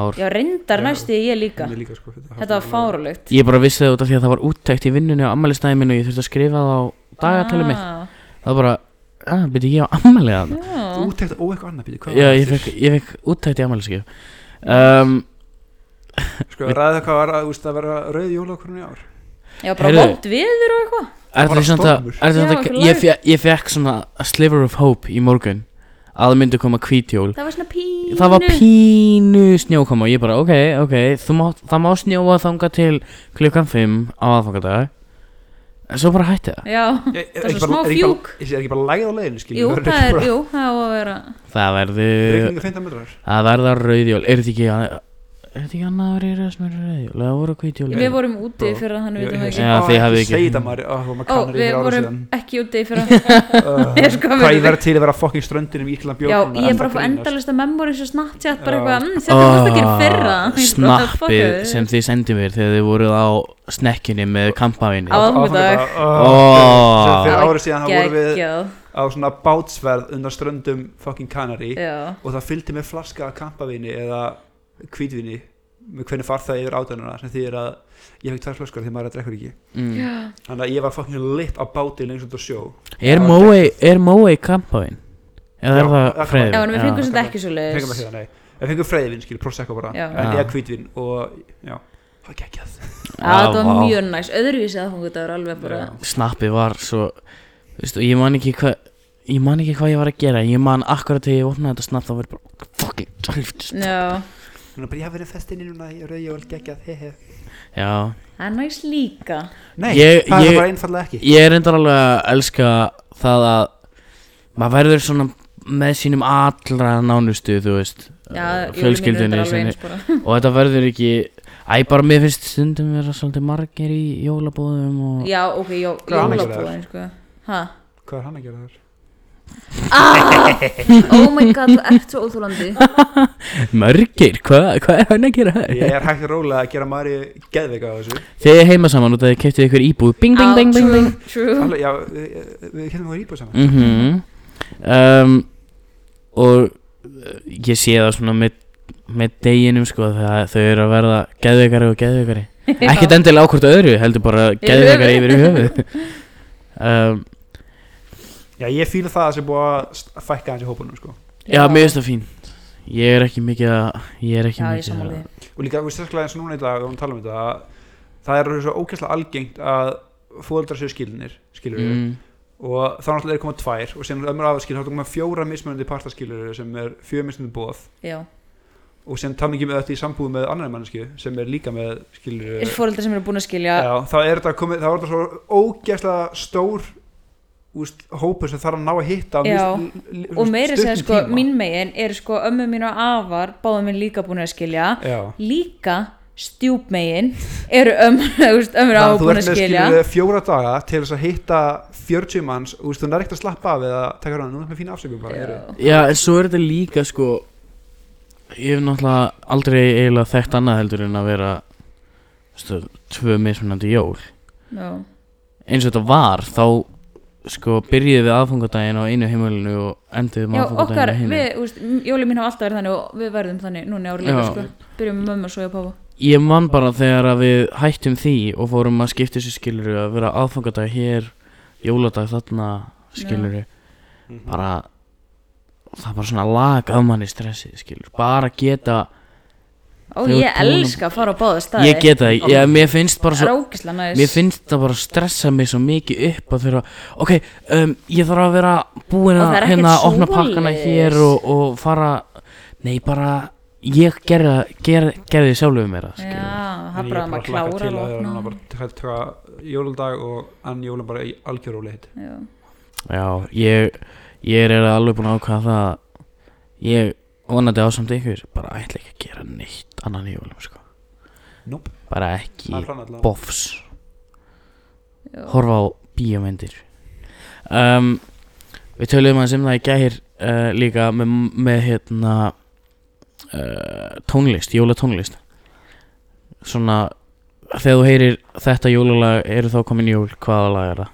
[SPEAKER 1] ár
[SPEAKER 2] já, reyndar
[SPEAKER 3] Já.
[SPEAKER 2] næstu ég líka.
[SPEAKER 3] Mér líka, sko,
[SPEAKER 2] Þetta var fárulegt.
[SPEAKER 1] Ég bara vissi það út af því að það var úttækt í vinnunni á ammælistæði minn og ég þurfti að skrifa það á dagatæli mitt
[SPEAKER 2] Já,
[SPEAKER 1] Það var bara, að, byrja ég á ammælið hann
[SPEAKER 3] Þú úttekta ó eitthvað annað býti
[SPEAKER 1] Já, ég fekk, ég fekk úttækt í ammæliskef um,
[SPEAKER 3] Sko, ræða hvað var að, úst, að vera rauð jólakorn í ár
[SPEAKER 2] já bara
[SPEAKER 1] Heyrðu.
[SPEAKER 2] vond viður og eitthvað.
[SPEAKER 1] Er
[SPEAKER 3] var
[SPEAKER 1] það svona það,
[SPEAKER 3] stormur.
[SPEAKER 1] er
[SPEAKER 2] Já,
[SPEAKER 1] það
[SPEAKER 2] okkur
[SPEAKER 1] svona ég, fe- ég fekk svona a sliver of hope í morgun að það myndi koma hvítjól
[SPEAKER 2] Það var svona pínu.
[SPEAKER 1] Það var pínu snjókoma og ég bara, ok, ok, þú má, það má snjóa þanga til klukkan 5 á aðfangadag En svo bara hætti það
[SPEAKER 2] Já,
[SPEAKER 3] Ég-
[SPEAKER 2] Það
[SPEAKER 3] er
[SPEAKER 2] var svona
[SPEAKER 3] ekki bara-
[SPEAKER 2] smá
[SPEAKER 3] er ekki bara-
[SPEAKER 2] fjúk.
[SPEAKER 3] Er ekki bara lægð á leiðinu, skiljum
[SPEAKER 2] jú, það er, jú, það á að vera.
[SPEAKER 1] Það verður
[SPEAKER 3] Regningu 15 metrar
[SPEAKER 1] Það verða rauðjól, er þetta ekki Er þetta ekki annað að vera sem er rauðjól Eða voru hvítjól
[SPEAKER 2] Við vorum úti
[SPEAKER 3] Bro.
[SPEAKER 2] fyrir að hann
[SPEAKER 3] Ég-
[SPEAKER 2] vitum það
[SPEAKER 3] ég-
[SPEAKER 2] ekki.
[SPEAKER 1] Já,
[SPEAKER 3] Ó,
[SPEAKER 1] þið hafið ekki-
[SPEAKER 3] Segið það maður, ó, það var maður
[SPEAKER 2] Ó,
[SPEAKER 3] kannari
[SPEAKER 2] við
[SPEAKER 3] fyrir ára
[SPEAKER 2] vorum
[SPEAKER 3] síðan
[SPEAKER 2] ekki úti fyrir að... Ég
[SPEAKER 3] Uh,
[SPEAKER 2] sko
[SPEAKER 3] Hvað
[SPEAKER 2] verið-
[SPEAKER 3] ég verð til að vera fokkin ströndinum í
[SPEAKER 2] Já,
[SPEAKER 3] Ísland bjórn
[SPEAKER 2] ég er bara að fá endalist að memories og snapchat bara
[SPEAKER 3] Já.
[SPEAKER 2] eitthvað, mm, setjum það ekki fyrra. Ég er bara, fuck
[SPEAKER 1] Ah, Snappið
[SPEAKER 2] it.
[SPEAKER 1] sem þið sendið mér Þegar þið voruð á snekkjunni með kampavíni
[SPEAKER 2] Á-
[SPEAKER 1] Ó.
[SPEAKER 3] Fyrir ára síðan þá vorum við
[SPEAKER 2] Geggjað.
[SPEAKER 3] á svona bátsverð undan ströndum fokkin kannari
[SPEAKER 2] Já.
[SPEAKER 3] og það fylgdi með flaska af kampavíni eða hvítvíni með hvernig far það yfir átanuna sem því er að ég fekk tvær flöskur því maður er að drekka ekki
[SPEAKER 1] mm.
[SPEAKER 3] þannig að ég var fokkin lit á bátin eins og þetta sjó
[SPEAKER 1] Er Mói, er Mói kampavín? Eða
[SPEAKER 3] Já,
[SPEAKER 1] er
[SPEAKER 3] það
[SPEAKER 1] það
[SPEAKER 3] er
[SPEAKER 1] freyður?
[SPEAKER 2] Já, en við fengum
[SPEAKER 3] Já.
[SPEAKER 2] þetta ekki svo
[SPEAKER 3] fengum við
[SPEAKER 2] leiðis
[SPEAKER 3] það, nei við fengum freyðvin, skil, prosecco bara
[SPEAKER 2] Já.
[SPEAKER 3] en
[SPEAKER 1] Já.
[SPEAKER 3] eða hvítvín og já, það geggjað
[SPEAKER 2] Það var
[SPEAKER 1] Ah, Vá, vá.
[SPEAKER 2] mjög næs, öðruvísi að hún þetta var alveg bara
[SPEAKER 3] Já.
[SPEAKER 1] Snappið var svo Veistu, ég man ekki hvað Ég man ekki hvað ég var að gera Ég man akkurat þegar ég opnaði þetta snapp þá verið bara Fucking
[SPEAKER 2] Já,
[SPEAKER 3] Núna bara, ég hafi verið festinni núna, ég rauði jól, geggjað, he he
[SPEAKER 1] Já
[SPEAKER 2] það er næs líka
[SPEAKER 3] Nei,
[SPEAKER 1] Ég-
[SPEAKER 3] það
[SPEAKER 1] ég-
[SPEAKER 3] er bara einfallega ekki
[SPEAKER 1] Ég er reyndar alveg að elska það að maður verður svona með sínum allra nánustu, þú veist uh,
[SPEAKER 2] Já, jólin mín er
[SPEAKER 1] fjölskyldunni
[SPEAKER 2] reyndar alveg
[SPEAKER 1] sinni
[SPEAKER 2] eins bara.
[SPEAKER 1] og þetta verður ekki Æ, bara mér finnst stundum vera svolítið margir í jólabóðum og
[SPEAKER 2] Já, ok, jó,
[SPEAKER 3] Hvað er hann að gera
[SPEAKER 2] jólabúðin sko Ha? Ah!
[SPEAKER 3] Hvað er hann að gera þar?
[SPEAKER 2] Oh my god, þú ert svo óþúlandi
[SPEAKER 1] Mörgir, hvað hva er hann að gera það?
[SPEAKER 3] Ég er hægt að róla að gera Mari geðveika á þessu
[SPEAKER 1] Þið er heima saman og það keftið ykkur íbúð Bing, bing, bing, bing, bing
[SPEAKER 2] True
[SPEAKER 3] Alveg, já, við, við kemum að íbúð saman
[SPEAKER 1] mm um, og uh, ég sé það svona með, með deginum sko það, þau eru að verða geðveikari og geðveikari ekkert endilega á hvort öðru heldur bara geðveikari yfir í höfuð um,
[SPEAKER 3] Já, ég fíla það að sé búið að st- fækka hans í hópunum sko.
[SPEAKER 1] já, mér finnst það fín ég er ekki mikið að ég er ekki
[SPEAKER 2] Já, ég
[SPEAKER 1] mikið
[SPEAKER 2] sammála
[SPEAKER 1] að
[SPEAKER 2] því
[SPEAKER 3] og líka, við sérstaklega eins og núna í dag og tala um þetta, að það er svo ókesslega algengt að fóðaldrar séu skilinir skilur við,
[SPEAKER 1] mm,
[SPEAKER 3] og þá náttúrulega er komað tvær og sem ömur aðskil, þá er komað fjóra mismunandi partaskilur sem er fjögur mismunandi bóð
[SPEAKER 2] Já,
[SPEAKER 3] og sem tala ekki með þetta í sambúð með annar mannesku sem er líka með skilur
[SPEAKER 2] er fóreldar sem eru búin að skilja
[SPEAKER 3] Já, þá er þetta komið, þá er þetta svo ógeðslega stór úst, hópur sem þarf að ná að hitta á
[SPEAKER 2] Já.
[SPEAKER 3] mis- l- l-
[SPEAKER 2] og meiri segja
[SPEAKER 3] stuttum
[SPEAKER 2] sko,
[SPEAKER 3] tíma.
[SPEAKER 2] mín megin eru sko ömmu mín og afar, báðum minn líka búin að skilja
[SPEAKER 3] Já.
[SPEAKER 2] líka stjúpmegin eru ömur
[SPEAKER 3] Þannig
[SPEAKER 2] á
[SPEAKER 3] að þú
[SPEAKER 2] búin að
[SPEAKER 3] ert með
[SPEAKER 2] skilja
[SPEAKER 3] skilur fjóra daga til þess að hitta 40 manns og þú nær ekkert að slappa af eða taka rána, nú er með fína afsökum bara eru.
[SPEAKER 2] Já.
[SPEAKER 1] Já, en svo er þetta líka sko Ég hef náttúrulega aldrei eiginlega þekkt annað heldur en að vera stu, tvö mismunandi jól
[SPEAKER 2] Já.
[SPEAKER 1] eins og þetta var þá sko byrjuðum við aðfangadaginn á einu heimilinu og enduðum
[SPEAKER 2] Já, okkar,
[SPEAKER 1] aðfangadaginn á hinu
[SPEAKER 2] við, úst, jóli mín hafa alltaf verið þannig og við verðum þannig núna árið líka
[SPEAKER 1] Já.
[SPEAKER 2] sko byrjum með mömmu og svo ég páfa
[SPEAKER 1] Ég man bara þegar að við hættum því og fórum að skipta þessu skiluru að vera aðfangadag hér, jóladag þarna skiluru bara það bara svona lag að manni stressi skilur bara geta,
[SPEAKER 2] Ó,
[SPEAKER 1] Þegar
[SPEAKER 2] ég
[SPEAKER 1] þú ert búin að-
[SPEAKER 2] elska að fara á báða staði
[SPEAKER 1] ég geta það, ég, mér finnst bara svo
[SPEAKER 2] Það er ógislega næs
[SPEAKER 1] Mér finnst það bara að stressa mig svo mikið upp að þurfa, ok, um, ég þarf að vera búin
[SPEAKER 2] Og það
[SPEAKER 1] að
[SPEAKER 2] er ekkert
[SPEAKER 1] hérna opna pakkana
[SPEAKER 2] svoleiðis.
[SPEAKER 1] hér og, og fara, nei bara, ég gerði, gerði, gerði sjálfur mér það,
[SPEAKER 2] Já,
[SPEAKER 1] skilur.
[SPEAKER 2] það
[SPEAKER 3] En
[SPEAKER 2] er
[SPEAKER 3] ég
[SPEAKER 2] bara að maður
[SPEAKER 3] hlakka
[SPEAKER 2] klára
[SPEAKER 3] til að
[SPEAKER 2] lokna.
[SPEAKER 3] núna bara taka- taka jólandag og ann jólan bara í algjöróli hitt
[SPEAKER 2] Já.
[SPEAKER 1] Já, ég, ég er eiginlega alveg búin að ákvaða það, að ég vonandi ásamt ykkur, bara ætla ekki að gera neitt annan í jólum, sko.
[SPEAKER 3] Nope.
[SPEAKER 1] Bara ekki
[SPEAKER 3] Það er planið allavega.
[SPEAKER 1] bofs, horfa á bíómyndir. Um, við töluðum aðeins um það í gæhir uh, líka með, með hérna uh, tónlist, jólatónlist svona þegar þú heyrir þetta jólalag eru þá komin jól, hvaða lag er það?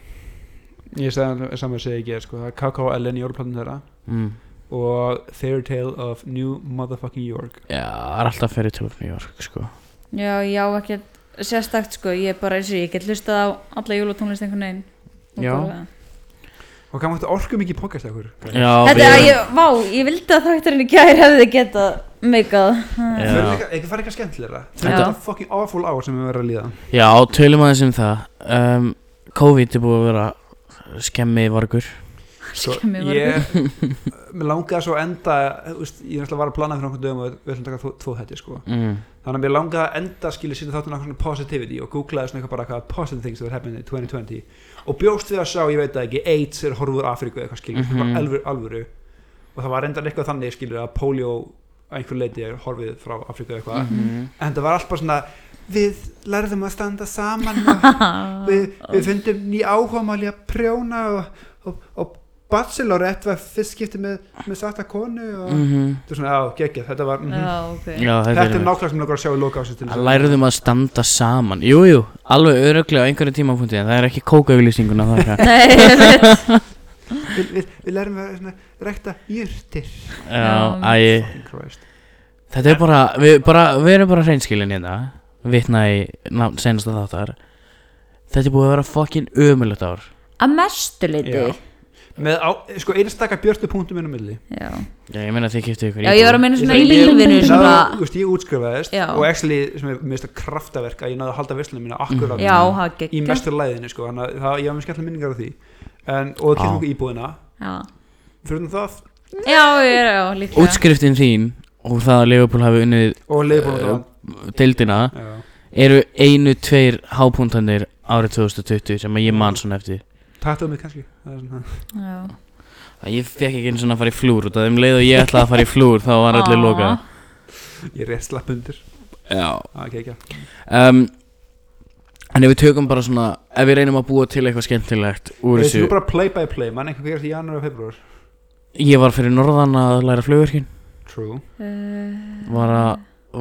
[SPEAKER 3] Ég sagði saman að segja ekki sko, það er Kakao Ellen í jólplatinu þeirra
[SPEAKER 1] Mm.
[SPEAKER 3] og Fairy Tale of New Motherfucking York
[SPEAKER 1] Já, það er alltaf fyrir til of New York sko.
[SPEAKER 2] Já, já, ekki sérstakt sko, ég er bara eins og ég get hlustað á alla jólutónlist einhvern veginn. Og
[SPEAKER 1] Já.
[SPEAKER 2] bara-
[SPEAKER 3] og kannu þetta orku mikið podcast ekkur
[SPEAKER 1] Já,
[SPEAKER 2] Þetta
[SPEAKER 1] við-
[SPEAKER 2] er, ég, vá, ég vildi að þátturinn í gær hefði getað meikað.
[SPEAKER 1] Já.
[SPEAKER 3] ekki fara eitthvað skemmtilega þetta er
[SPEAKER 2] Já.
[SPEAKER 3] þetta fucking awful hour sem við verðum að líða
[SPEAKER 1] Já, tölum aðeins um það um, COVID er búið að vera skemmi vargur
[SPEAKER 3] Sko,
[SPEAKER 2] Skemmi var
[SPEAKER 3] ég mér langaði svo að enda úst, ég er alltaf að vara að plana fyrir okkur dögum og við ætlum að taka tvo, tvo hætti sko.
[SPEAKER 1] mm.
[SPEAKER 3] þannig að mér langaði að enda skilja sýnda þáttunum svona positivity og googlaði svona eitthvað bara hvað positive things that happened in 2020 og bjóst við að sjá, ég veit það ekki, AIDS er horfur Afríku eða eitthvað skilja, mm
[SPEAKER 1] Mhm.
[SPEAKER 3] var alvöru, alvöru og það var reyndar eitthvað þannig skilja að polio að einhver leiti er horfið frá Afríku eða eitthvað en það var alltaf svona við lærðum að standa saman og við, við fundum ný áhugamál í að prjóna og, og, og bachelorette var fyrst skipti með, með satta konu og
[SPEAKER 1] -hmm.
[SPEAKER 3] þetta er svona, já, geggjað, þetta var mm
[SPEAKER 2] Já, ok.
[SPEAKER 1] Mhm. Já, þetta,
[SPEAKER 3] þetta er nákvæmlega sem langar að sjá í loka ásins til
[SPEAKER 1] að læruðum um að standa saman Jújú, jú, alveg öruglega á einhverju tímapunkti en það er ekki kókauglýsingun að það
[SPEAKER 2] Nei, ég veit.
[SPEAKER 3] við, við, við lærum að svona, rækta jurtir
[SPEAKER 1] Já,
[SPEAKER 2] Já.
[SPEAKER 1] æ,
[SPEAKER 3] Christ.
[SPEAKER 1] þetta er bara við, bara, við erum bara hreinskilin hérna vitna í nafn senasta þáttar Þetta er búið að vera fokkin ömulegt ár
[SPEAKER 2] Að mestu liti.
[SPEAKER 3] Já. með á, sko einstakar björtu punktum inn á milli
[SPEAKER 2] Já.
[SPEAKER 1] Já, ég meina þið kiptu ykkur
[SPEAKER 2] Já,
[SPEAKER 1] íbúð.
[SPEAKER 2] ég var að minna svona í
[SPEAKER 3] Ég- ég-
[SPEAKER 2] lífinu
[SPEAKER 3] Ná,
[SPEAKER 2] svona.
[SPEAKER 3] þú veist, ég útskrifaðist
[SPEAKER 2] Já.
[SPEAKER 3] og actually, sem er mest að kraftaverk að ég náði að halda visslunum mína akkurat
[SPEAKER 2] Mm. Já, það
[SPEAKER 3] í
[SPEAKER 2] geggjað.
[SPEAKER 3] mestur læðinu sko, þannig að það, ég var með skemmtilega minningar af því en, og það
[SPEAKER 1] Já.
[SPEAKER 3] kemur okkur íbúðina
[SPEAKER 2] Já.
[SPEAKER 3] fyrir utan það
[SPEAKER 2] Já, já, já, líklega.
[SPEAKER 1] Útskriftin þín og það að Leopold hafi unnið
[SPEAKER 3] og
[SPEAKER 1] Eh,
[SPEAKER 3] leiðbúðina
[SPEAKER 1] deildina
[SPEAKER 3] Já.
[SPEAKER 1] eru einu, tveir hápuntanir árið 2020 sem að ég man svona eftir
[SPEAKER 3] Tattuðu mig kannski Það er svona-
[SPEAKER 2] Já.
[SPEAKER 1] að ég fekk ekki einu svona að fara í flúr út að um leið og ég ætlaði að fara í flúr þá var allir
[SPEAKER 2] Á.
[SPEAKER 1] lokað
[SPEAKER 3] Ég er rétt slapp undir
[SPEAKER 1] Já
[SPEAKER 3] ah, okay, ekki,
[SPEAKER 1] um, En ef við tökum bara svona ef við reynum að búa til eitthvað skemmtilegt úr
[SPEAKER 3] Þú
[SPEAKER 1] þessu
[SPEAKER 3] bara play by play Mann einhver gerast í janúar og februar
[SPEAKER 1] Ég var fyrir norðan að læra flugverkin
[SPEAKER 3] True
[SPEAKER 2] Eh,
[SPEAKER 1] var, að,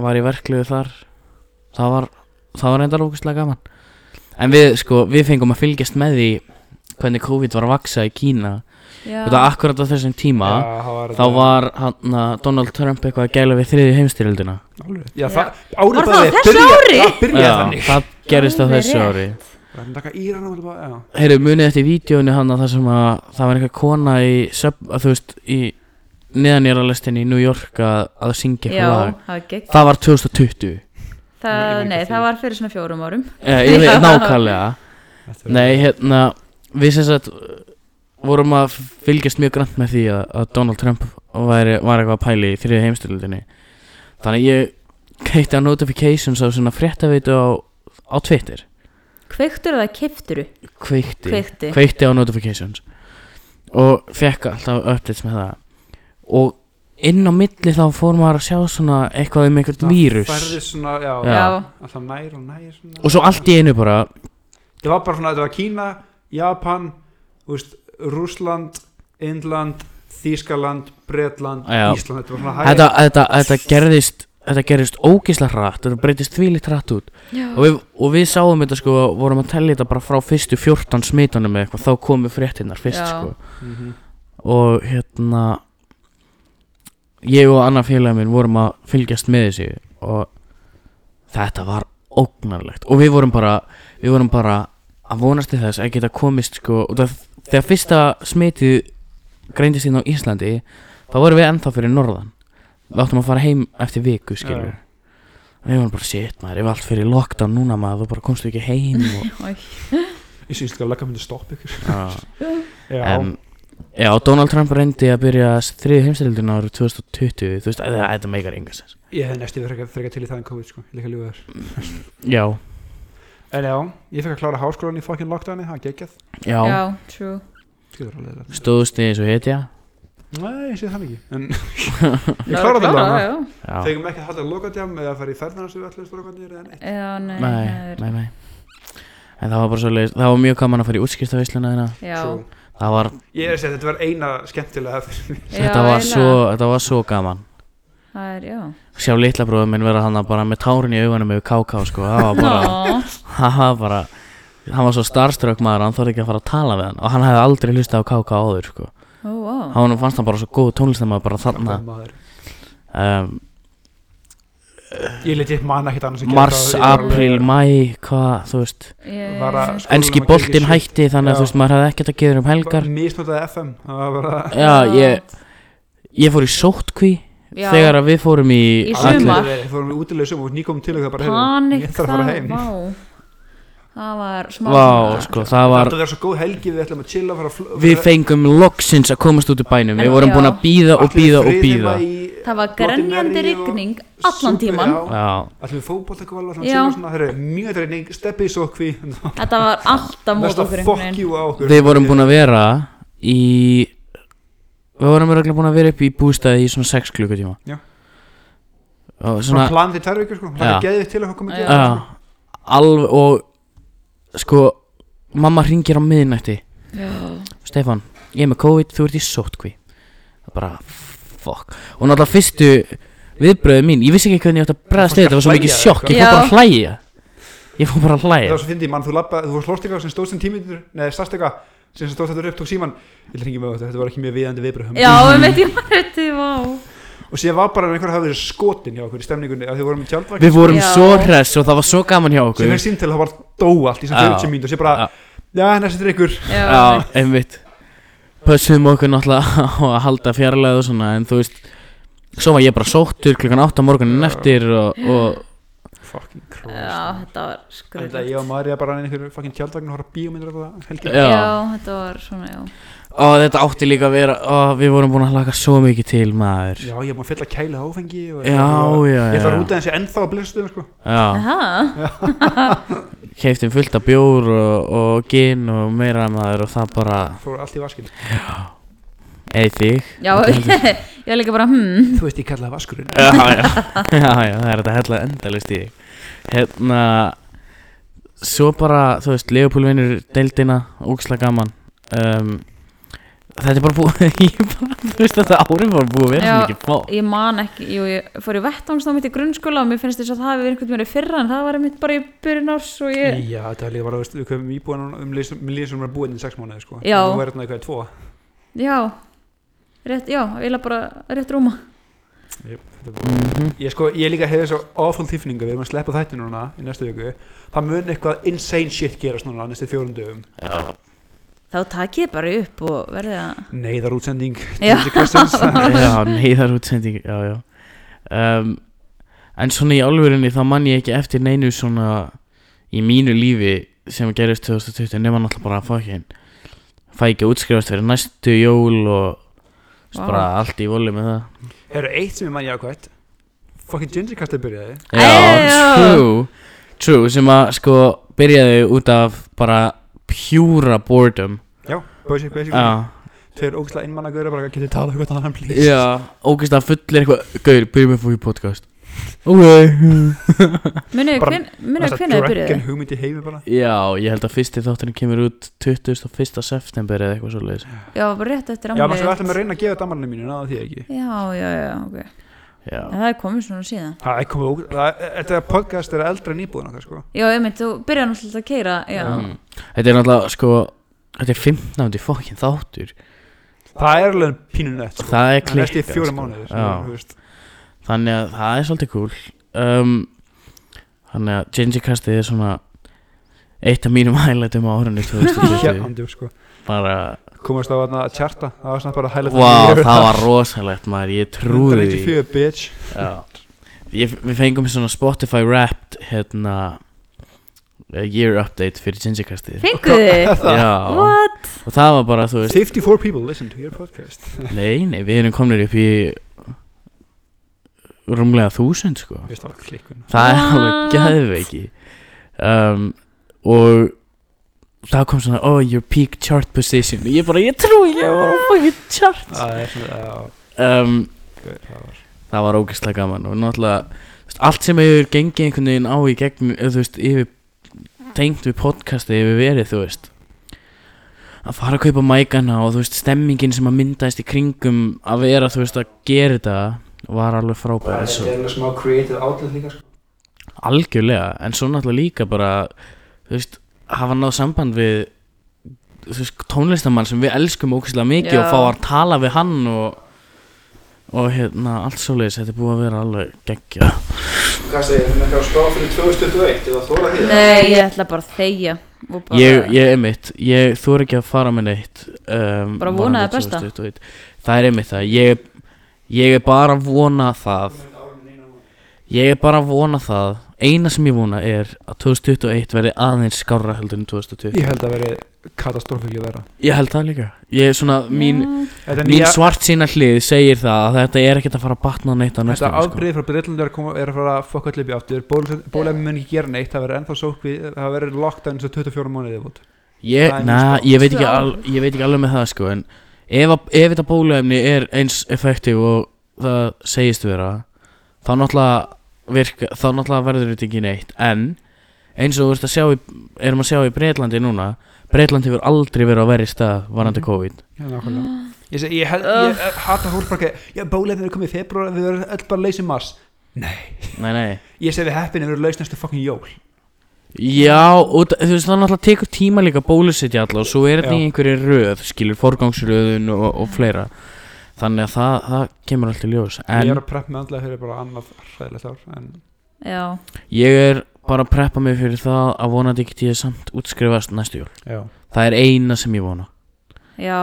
[SPEAKER 1] var í verkluðu þar það var, það var reyndar ógustlega gaman en við sko, við fengum að fylgjast með því hvernig COVID var að vaksa í Kína
[SPEAKER 2] já.
[SPEAKER 1] þetta akkurat á þessum tíma
[SPEAKER 3] Já, það var
[SPEAKER 1] þá var hann að Donald Trump eitthvað að gæla við þriðju heimstyrjöldina
[SPEAKER 3] Alveg. Já,
[SPEAKER 2] Já.
[SPEAKER 3] það Árið
[SPEAKER 2] Var það á þessu ári?
[SPEAKER 3] byrja- Það byrjaði þannig
[SPEAKER 1] það gerist á
[SPEAKER 2] Alveg
[SPEAKER 1] þessu
[SPEAKER 2] rétt.
[SPEAKER 1] ári
[SPEAKER 3] Það er taka íran og bara Já
[SPEAKER 1] Heyrðu, munið eftir vídjónu hann að það sem að það var eitthvað kona í, sub, að þú veist, í neðanjáralestin í New York að, að syngja
[SPEAKER 2] Já,
[SPEAKER 1] eitthvað lag
[SPEAKER 2] það gegn
[SPEAKER 1] Það var 2020
[SPEAKER 2] það,
[SPEAKER 3] Nei,
[SPEAKER 2] Nei,
[SPEAKER 3] ekki
[SPEAKER 2] það
[SPEAKER 3] því.
[SPEAKER 2] var fyrir svona fjórum árum
[SPEAKER 1] eh, Ég veit
[SPEAKER 2] Já.
[SPEAKER 1] nákvæmlega
[SPEAKER 3] Þetta er-
[SPEAKER 1] Nei, hérna, við sem sagt uh, vorum að fylgjast mjög grann með því að, að Donald Trump var, var eitthvað að pæli í þriðið heimstöldinni Þannig að ég keitti á notifications á svona fréttaveitu á, á Twitter
[SPEAKER 2] Kveiktur eða kifturu?
[SPEAKER 1] Kveikti
[SPEAKER 2] Kveikti
[SPEAKER 1] Kveikti á notifications og fekk alltaf updates með það og inn á milli þá fór maður að sjá svona eitthvað um eitthvað vírus
[SPEAKER 3] færðist svona, já,
[SPEAKER 1] Já.
[SPEAKER 3] alltaf nær og nær svona.
[SPEAKER 1] og svo allt í einu bara
[SPEAKER 3] það var bara svona, þetta var Kína, Japan þú veist, Rússland Indland, Þískaland Bretland,
[SPEAKER 1] Já.
[SPEAKER 3] Ísland þetta var svona hæg
[SPEAKER 1] þetta, þetta, þetta gerðist þetta gerðist ógisla hratt þetta breytist þvílitt hratt út
[SPEAKER 2] Já.
[SPEAKER 1] og við, og við sáum þetta sko vorum að tellja þetta bara frá fyrstu 14 smitanum eða eitthvað þá komu fréttinnar fyrst
[SPEAKER 2] Já.
[SPEAKER 1] sko
[SPEAKER 3] Mhm.
[SPEAKER 1] og hérna ég og annar félagi minn vorum að fylgjast með þessu og þetta var ógnarlegt og við vorum bara við vorum bara að vonast til þess að geta komist sko og það, þegar fyrsta smitið greindist inn á Íslandi þá vorum við ennþá fyrir norðan við áttum að fara heim eftir viku skilur
[SPEAKER 3] Já.
[SPEAKER 1] við vorum bara shit maður ef allt fyrir lockdown núna maður þú bara komstu ekki heim og,
[SPEAKER 2] Æ.
[SPEAKER 3] ég syns líka að leggja myndi stopp ykkur
[SPEAKER 1] já.
[SPEAKER 3] já,
[SPEAKER 1] En, já, Donald Trump reyndi að byrja þriði heimstældin árið 2020 þú veist, að það þetta meikar enga sens
[SPEAKER 3] ég hef næstu verið þreka til í það en COVID sko, líka ljúið þér
[SPEAKER 1] Já,
[SPEAKER 3] en já, ég fekk að klára háskólan í fokkin lockdowni, það geggjað
[SPEAKER 1] já,
[SPEAKER 2] Já, true
[SPEAKER 3] skilur alveg þetta
[SPEAKER 1] stóðust þið eins og hetja
[SPEAKER 3] Nei, ég sé það ekki En
[SPEAKER 2] Það
[SPEAKER 3] ég
[SPEAKER 2] var
[SPEAKER 3] klára það
[SPEAKER 2] klárað,
[SPEAKER 3] alveg
[SPEAKER 2] já.
[SPEAKER 1] Já,
[SPEAKER 3] Þegar ekki að halda lokadjám eða að fara í ferðarna sem við ætlum strókandir eða neitt
[SPEAKER 2] Já, nei,
[SPEAKER 1] nei,
[SPEAKER 2] það er-
[SPEAKER 1] nei, nei En það var bara svo leiðis, það var mjög gaman að fara í útskiptaveisluna þeirna
[SPEAKER 2] Já,
[SPEAKER 3] True.
[SPEAKER 1] Það var,
[SPEAKER 3] Ég er að segja þetta var eina skemmtilega
[SPEAKER 2] Já,
[SPEAKER 3] hefðir
[SPEAKER 1] þetta var
[SPEAKER 2] eiginlega.
[SPEAKER 1] svo, þetta var svo gaman
[SPEAKER 2] Það er, já
[SPEAKER 1] Sjá litla bróðum minn vera hann bara með tárin í augunum yfir káká sko, það var bara,
[SPEAKER 2] Ná,
[SPEAKER 1] það var bara Hann var svo starströk maður, hann þorði ekki að fara að tala við hann og hann hefði aldrei hlustað á káká áður sko
[SPEAKER 2] ó, ó
[SPEAKER 1] Hann fannst hann bara svo góð tónlistamæður bara þarna um,
[SPEAKER 3] Ég leti manna ekkert annars
[SPEAKER 1] mars, apríl, mæ, hvað, þú veist
[SPEAKER 2] Ég-
[SPEAKER 3] Var að-
[SPEAKER 1] Enski
[SPEAKER 3] Skólum að
[SPEAKER 1] boltinn
[SPEAKER 3] gera í
[SPEAKER 1] hætti þannig
[SPEAKER 3] Já.
[SPEAKER 1] að þú veist maður hefði ekkert að geða um helgar
[SPEAKER 3] Mísnotaði FM Það var bara
[SPEAKER 1] Já, ég, ég fór í sótkví
[SPEAKER 2] Já.
[SPEAKER 1] þegar að við fórum í
[SPEAKER 2] Í
[SPEAKER 1] Atli-
[SPEAKER 2] sumar.
[SPEAKER 3] Við fórum í útilega sumar og nýkomum til okkar bara heyrðu,
[SPEAKER 2] Panik
[SPEAKER 3] Ég þarf að fara
[SPEAKER 2] það,
[SPEAKER 3] heim
[SPEAKER 2] vá Það var smá
[SPEAKER 1] Vá, sko, það
[SPEAKER 3] Þetta
[SPEAKER 1] var
[SPEAKER 3] verður svo góð helgi Við ætlum að chilla fara að fl-
[SPEAKER 1] Við
[SPEAKER 3] fara-
[SPEAKER 1] fengum loksins að komast út úr bænum Við vorum
[SPEAKER 2] Já.
[SPEAKER 1] búin að býða og
[SPEAKER 3] Allir
[SPEAKER 1] býða og
[SPEAKER 3] friðir
[SPEAKER 1] býða
[SPEAKER 3] var í
[SPEAKER 2] Það var
[SPEAKER 3] Bloody
[SPEAKER 2] grenjandi
[SPEAKER 3] Mary og
[SPEAKER 2] rigning allan
[SPEAKER 3] Super-
[SPEAKER 2] tíman
[SPEAKER 3] já.
[SPEAKER 1] Já,
[SPEAKER 3] Ætlum við fótbolta eitthvað alveg
[SPEAKER 2] Já.
[SPEAKER 3] svona Það eru mjög dreining, steppi í sókví
[SPEAKER 2] Þetta var alltaf mót
[SPEAKER 3] Mesta
[SPEAKER 2] okkur einhvern
[SPEAKER 3] fuck
[SPEAKER 2] veginn
[SPEAKER 3] you á okkur
[SPEAKER 1] við vorum búin að vera í Við vorum örugglega búin að vera upp í bústæði í svona 6 klukkutíma
[SPEAKER 3] Já.
[SPEAKER 1] Og
[SPEAKER 3] Svona
[SPEAKER 1] svona
[SPEAKER 3] plan þið tvær vikur sko Það
[SPEAKER 1] Já.
[SPEAKER 3] er geðið til að koma sko. að gera
[SPEAKER 1] Já, alveg og sko, mamma hringir á miðnætti
[SPEAKER 2] Já.
[SPEAKER 1] Stefan, ég er með COVID, þú ert í sótkví Það bara, fuck Og náttúrulega fyrstu viðbröðu mín Ég vissi ekki hvernig ég átti að bregðast við þetta Það var svo
[SPEAKER 3] Hlæja
[SPEAKER 1] mikið
[SPEAKER 3] eða
[SPEAKER 1] sjokk, ég
[SPEAKER 2] eitthvað.
[SPEAKER 1] fór bara að hlæja Ég fór bara að
[SPEAKER 3] Það
[SPEAKER 1] hlæja
[SPEAKER 3] var svo fyndið mann, þú lappa, þú slóst eitthvað sem stóðst sem tímyndur Nei, sast eitthvað sem stóðst þetta upp, tók síman Ég hringi mig á þetta, þetta var ekki mjög viðandi viðbröðum
[SPEAKER 2] Já, við veit ég var þetta, vá
[SPEAKER 3] Og síðan var bara einhver að hafa verið skotin hjá okkur í stemningunni Að þið vorum í tjaldvakt
[SPEAKER 1] Við vorum
[SPEAKER 2] Já.
[SPEAKER 1] svo hress og það var svo gaman hjá
[SPEAKER 3] Sem
[SPEAKER 1] okkur
[SPEAKER 3] er símtel, það var dó allt í sem
[SPEAKER 1] Já.
[SPEAKER 3] 40 mínútur Og sér bara,
[SPEAKER 1] Já.
[SPEAKER 3] já, hérna, næstu drikkur
[SPEAKER 1] Já, einmitt Pössum okkur náttúrulega á að halda fjarlæðu og svona En þú veist, svo var ég bara sóttur klukkan 8 morgunin eftir og, og
[SPEAKER 3] Fucking
[SPEAKER 2] Já,
[SPEAKER 3] cross
[SPEAKER 2] þetta var
[SPEAKER 3] Þetta
[SPEAKER 2] skröð
[SPEAKER 3] ég og Marja bara inn í einhverju fucking tjaldvagn og horfa á bíómyndir á það helgi.
[SPEAKER 1] já.
[SPEAKER 2] Já, þetta var svona, já
[SPEAKER 1] og þetta átti líka að vera og við vorum búin að hlaka svo mikið til maður
[SPEAKER 3] Já, ég er búin að fylla kæli af áfengi og-
[SPEAKER 1] Já, já,
[SPEAKER 3] Ég þarf
[SPEAKER 1] já.
[SPEAKER 3] út aðeins ég ennþá að blirstum sko.
[SPEAKER 1] Já,
[SPEAKER 2] Það,
[SPEAKER 1] keiftum fullt af bjór og, og gin og meira maður og það bara
[SPEAKER 3] Fór allt í vaskin
[SPEAKER 1] eða þig
[SPEAKER 2] já, ég var líka bara, hmm
[SPEAKER 3] Þú veist ég kallaði vaskurinn
[SPEAKER 1] já, já, já, já, það er þetta hella endalist í þig hérna svo bara, þú veist, Leopold vinnur deildina, ógislega gaman um, þetta er bara búið ég bara, þú veist, þetta árið bara búið að vera svo
[SPEAKER 2] Já.
[SPEAKER 1] mikið fá
[SPEAKER 2] Ég man ekki, jú, ég fór í vettvangsnámitt í grunnskóla og mér finnst þess að það hafi verið einhvern verið fyrra en það var einmitt bara í byrjun árs og ég
[SPEAKER 3] Já, þetta var líka bara, veist, við komum íbúin um líðsum sem er búin í sex mánuði sko.
[SPEAKER 2] Já.
[SPEAKER 3] Nú er þetta eitthvað í tvo
[SPEAKER 2] Já, rétt, já, ég la bara rétt rúma
[SPEAKER 3] Þetta er bara-
[SPEAKER 1] Mhm.
[SPEAKER 3] Ég sko, ég líka hefði svo awful tífninga við erum að sleppa þætti núna í næstu viku Það mun eitthvað insane shit gerast núna næstu fjórum dögum
[SPEAKER 2] Þá takk ég bara upp og verði að
[SPEAKER 3] Neyðar útsending
[SPEAKER 2] Já.
[SPEAKER 1] já, neyðar útsending já, já. Um, en svona í alvörunni þá man ég ekki eftir neinu svona í mínu lífi sem gerist 2020 nema náttúrulega bara að fá ekki fæ ekki að útskrifast fyrir næstu jól og wow.
[SPEAKER 2] Vá.
[SPEAKER 1] bara allt í voli með það
[SPEAKER 3] Hefur eitt sem ég mann jákvætt Fucking gingerkastið byrjaði
[SPEAKER 1] Já,
[SPEAKER 2] Ejó.
[SPEAKER 1] true True, sem að sko byrjaði út af bara pjúra boredom
[SPEAKER 3] Já, basic, basic
[SPEAKER 1] Já,
[SPEAKER 3] tveir ógæslega einmanna gauður bara getið talað um hvað hann please
[SPEAKER 1] Já, ógist að fullir eitthvað Gaur, byrjum við fókið podcast Ok
[SPEAKER 2] Munið
[SPEAKER 3] Bara
[SPEAKER 2] hvernig þið byrjuðu?
[SPEAKER 3] Dragon hugmynd í heimi bara
[SPEAKER 1] Já, ég held að fyrsti þátturinn kemur út 21. september eða eitthvað svoleiðis
[SPEAKER 2] Já, bara rétt eftir
[SPEAKER 3] Já, maður svo
[SPEAKER 2] afmælið
[SPEAKER 3] ætlum að reyna að gefa damarni mínu náða því ekki
[SPEAKER 2] Já, já, já, ok En
[SPEAKER 1] Já,
[SPEAKER 2] það er komið svona síðan
[SPEAKER 3] Það er komið ógæslega Þetta podcast er eldra en íbúðin okkar sko
[SPEAKER 2] Já, ég þú byrjar náttúrulega að keira Já,
[SPEAKER 1] Mm. Þetta er náttúrulega sko Þetta er 15. fókin þáttur
[SPEAKER 3] Það er alveg pínu nött sko
[SPEAKER 1] Það er
[SPEAKER 3] Það er eftir
[SPEAKER 1] klikkað
[SPEAKER 3] fjóra
[SPEAKER 1] sko.
[SPEAKER 3] mánuðir
[SPEAKER 1] Já.
[SPEAKER 3] þú veist.
[SPEAKER 1] Þannig að það er svolítið cool um, Þannig að Gingikastið er svona Eitt af mínum highlightum á árunni 2020
[SPEAKER 3] Hérnandi sko
[SPEAKER 1] Bara,
[SPEAKER 3] Komast á þarna að tjarta Það var svona bara
[SPEAKER 1] vá,
[SPEAKER 3] hægilegt
[SPEAKER 1] það var rosalegt maður Ég trúði því
[SPEAKER 3] 194 bitch
[SPEAKER 1] Já. ég, Við fengum svona Spotify Wrapped hérna eh, Year update fyrir Gingikastið
[SPEAKER 2] fenguð þið
[SPEAKER 1] Já,
[SPEAKER 2] What?
[SPEAKER 1] og það var bara, þú veist
[SPEAKER 3] 54 people listen to your podcast
[SPEAKER 1] Nei, nei, við erum komnir upp í Rúmlega þúsund, sko
[SPEAKER 3] Veist það var klikkun
[SPEAKER 1] Það er
[SPEAKER 2] What?
[SPEAKER 1] alveg geðveiki um, Og Það kom svona, oh, your peak chart position Og ég bara, ég trúi ekki, ég var á fucking chart
[SPEAKER 3] Það er svona já,
[SPEAKER 1] um,
[SPEAKER 3] gaur, það var-
[SPEAKER 1] Það var ógeðslega gaman Og náttúrulega, þú veist, allt sem hefur gengið einhvern veginn á í gegn eða, Þú veist, yfir Tengt við podcastið yfir verið, þú veist Að fara að kaupa mækana Og þú veist, stemmingin sem að myndaðist í kringum Að vera, þú veist, að gera þetta Var alveg frábæð
[SPEAKER 3] Það er alveg smá creative outlet líka sko
[SPEAKER 1] algjörlega en svo náttúrulega líka bara þú veist, hafa náð samband við þú veist, tónlistamann sem við elskum ókvæslega mikið
[SPEAKER 2] Já.
[SPEAKER 1] og fá að tala við hann og, og hérna, allt svoleiðis þetta er búið að vera alveg geggja
[SPEAKER 3] Hvað segir, hún er ekki á spá fyrir 2021 Eða þóra því
[SPEAKER 2] Nei, ég ætla bara að þegja og bara,
[SPEAKER 1] ég, ég er mitt, ég þú er ekki að fara með neitt um,
[SPEAKER 2] Bara vona
[SPEAKER 1] varðandi
[SPEAKER 2] það besta.
[SPEAKER 1] 2021. það er einmitt það ég, ég er bara að vona það ég er bara að vona það eina sem ég vona er að 2021 verði aðeins skárra heldur en 2020
[SPEAKER 3] Ég held að veri katastrófíli vera
[SPEAKER 1] Ég held það líka Ég er svona, mín,
[SPEAKER 3] Þetta
[SPEAKER 1] mín svart sína hlið segir það að þetta er ekkert að fara að batna neitt á
[SPEAKER 3] Þetta
[SPEAKER 1] næstum sko.
[SPEAKER 3] afbreið frá Breitlandi er að, koma, er að fara að fokka allir upp í aftur Bólefni mun ekki gera neitt, það verður ennþá sókvi það verður lockdown svo 24 mánuði út
[SPEAKER 1] ég,
[SPEAKER 3] Það er mín
[SPEAKER 1] na,
[SPEAKER 3] spá.
[SPEAKER 1] ég, veit ekki
[SPEAKER 2] Tvö
[SPEAKER 1] al, ég veit ekki alveg með það sko En ef, að- ef þetta bóluefni er eins effektiv og það segist vera Þá náttúrulega, virka, þá náttúrulega verður þetta ekki neitt En eins og þú ert að sjá í, erum að sjá í Breitlandi núna Breitlandi hefur aldrei verið á verri stað varandi
[SPEAKER 3] Mhm.
[SPEAKER 1] COVID
[SPEAKER 3] Já, nákvæmlega Ég, seg, ég, hel, ég eh, hata fólk bara ekki, Já, bólefni er komið í februar við verðum öll bara leysið mars
[SPEAKER 1] Nei, nei
[SPEAKER 3] Ég segi við heppin ef við verðum laus næstu fucking jól
[SPEAKER 1] Já, og þa- þú veist það náttúrulega tekur tíma líka að bólusetja alla og svo er þetta
[SPEAKER 3] Já.
[SPEAKER 1] í einhverju röð, skilur forgangsröðun og, og fleira þannig að það, það kemur alltaf ljós en
[SPEAKER 3] Ég er að prep með andlega fyrir bara annað hræðilegt ár en
[SPEAKER 2] Já,
[SPEAKER 1] ég er bara að preppa mig fyrir það að vonandi ekki ég samt útskrifast næstu jól
[SPEAKER 3] já,
[SPEAKER 1] það er eina sem ég vona
[SPEAKER 2] já,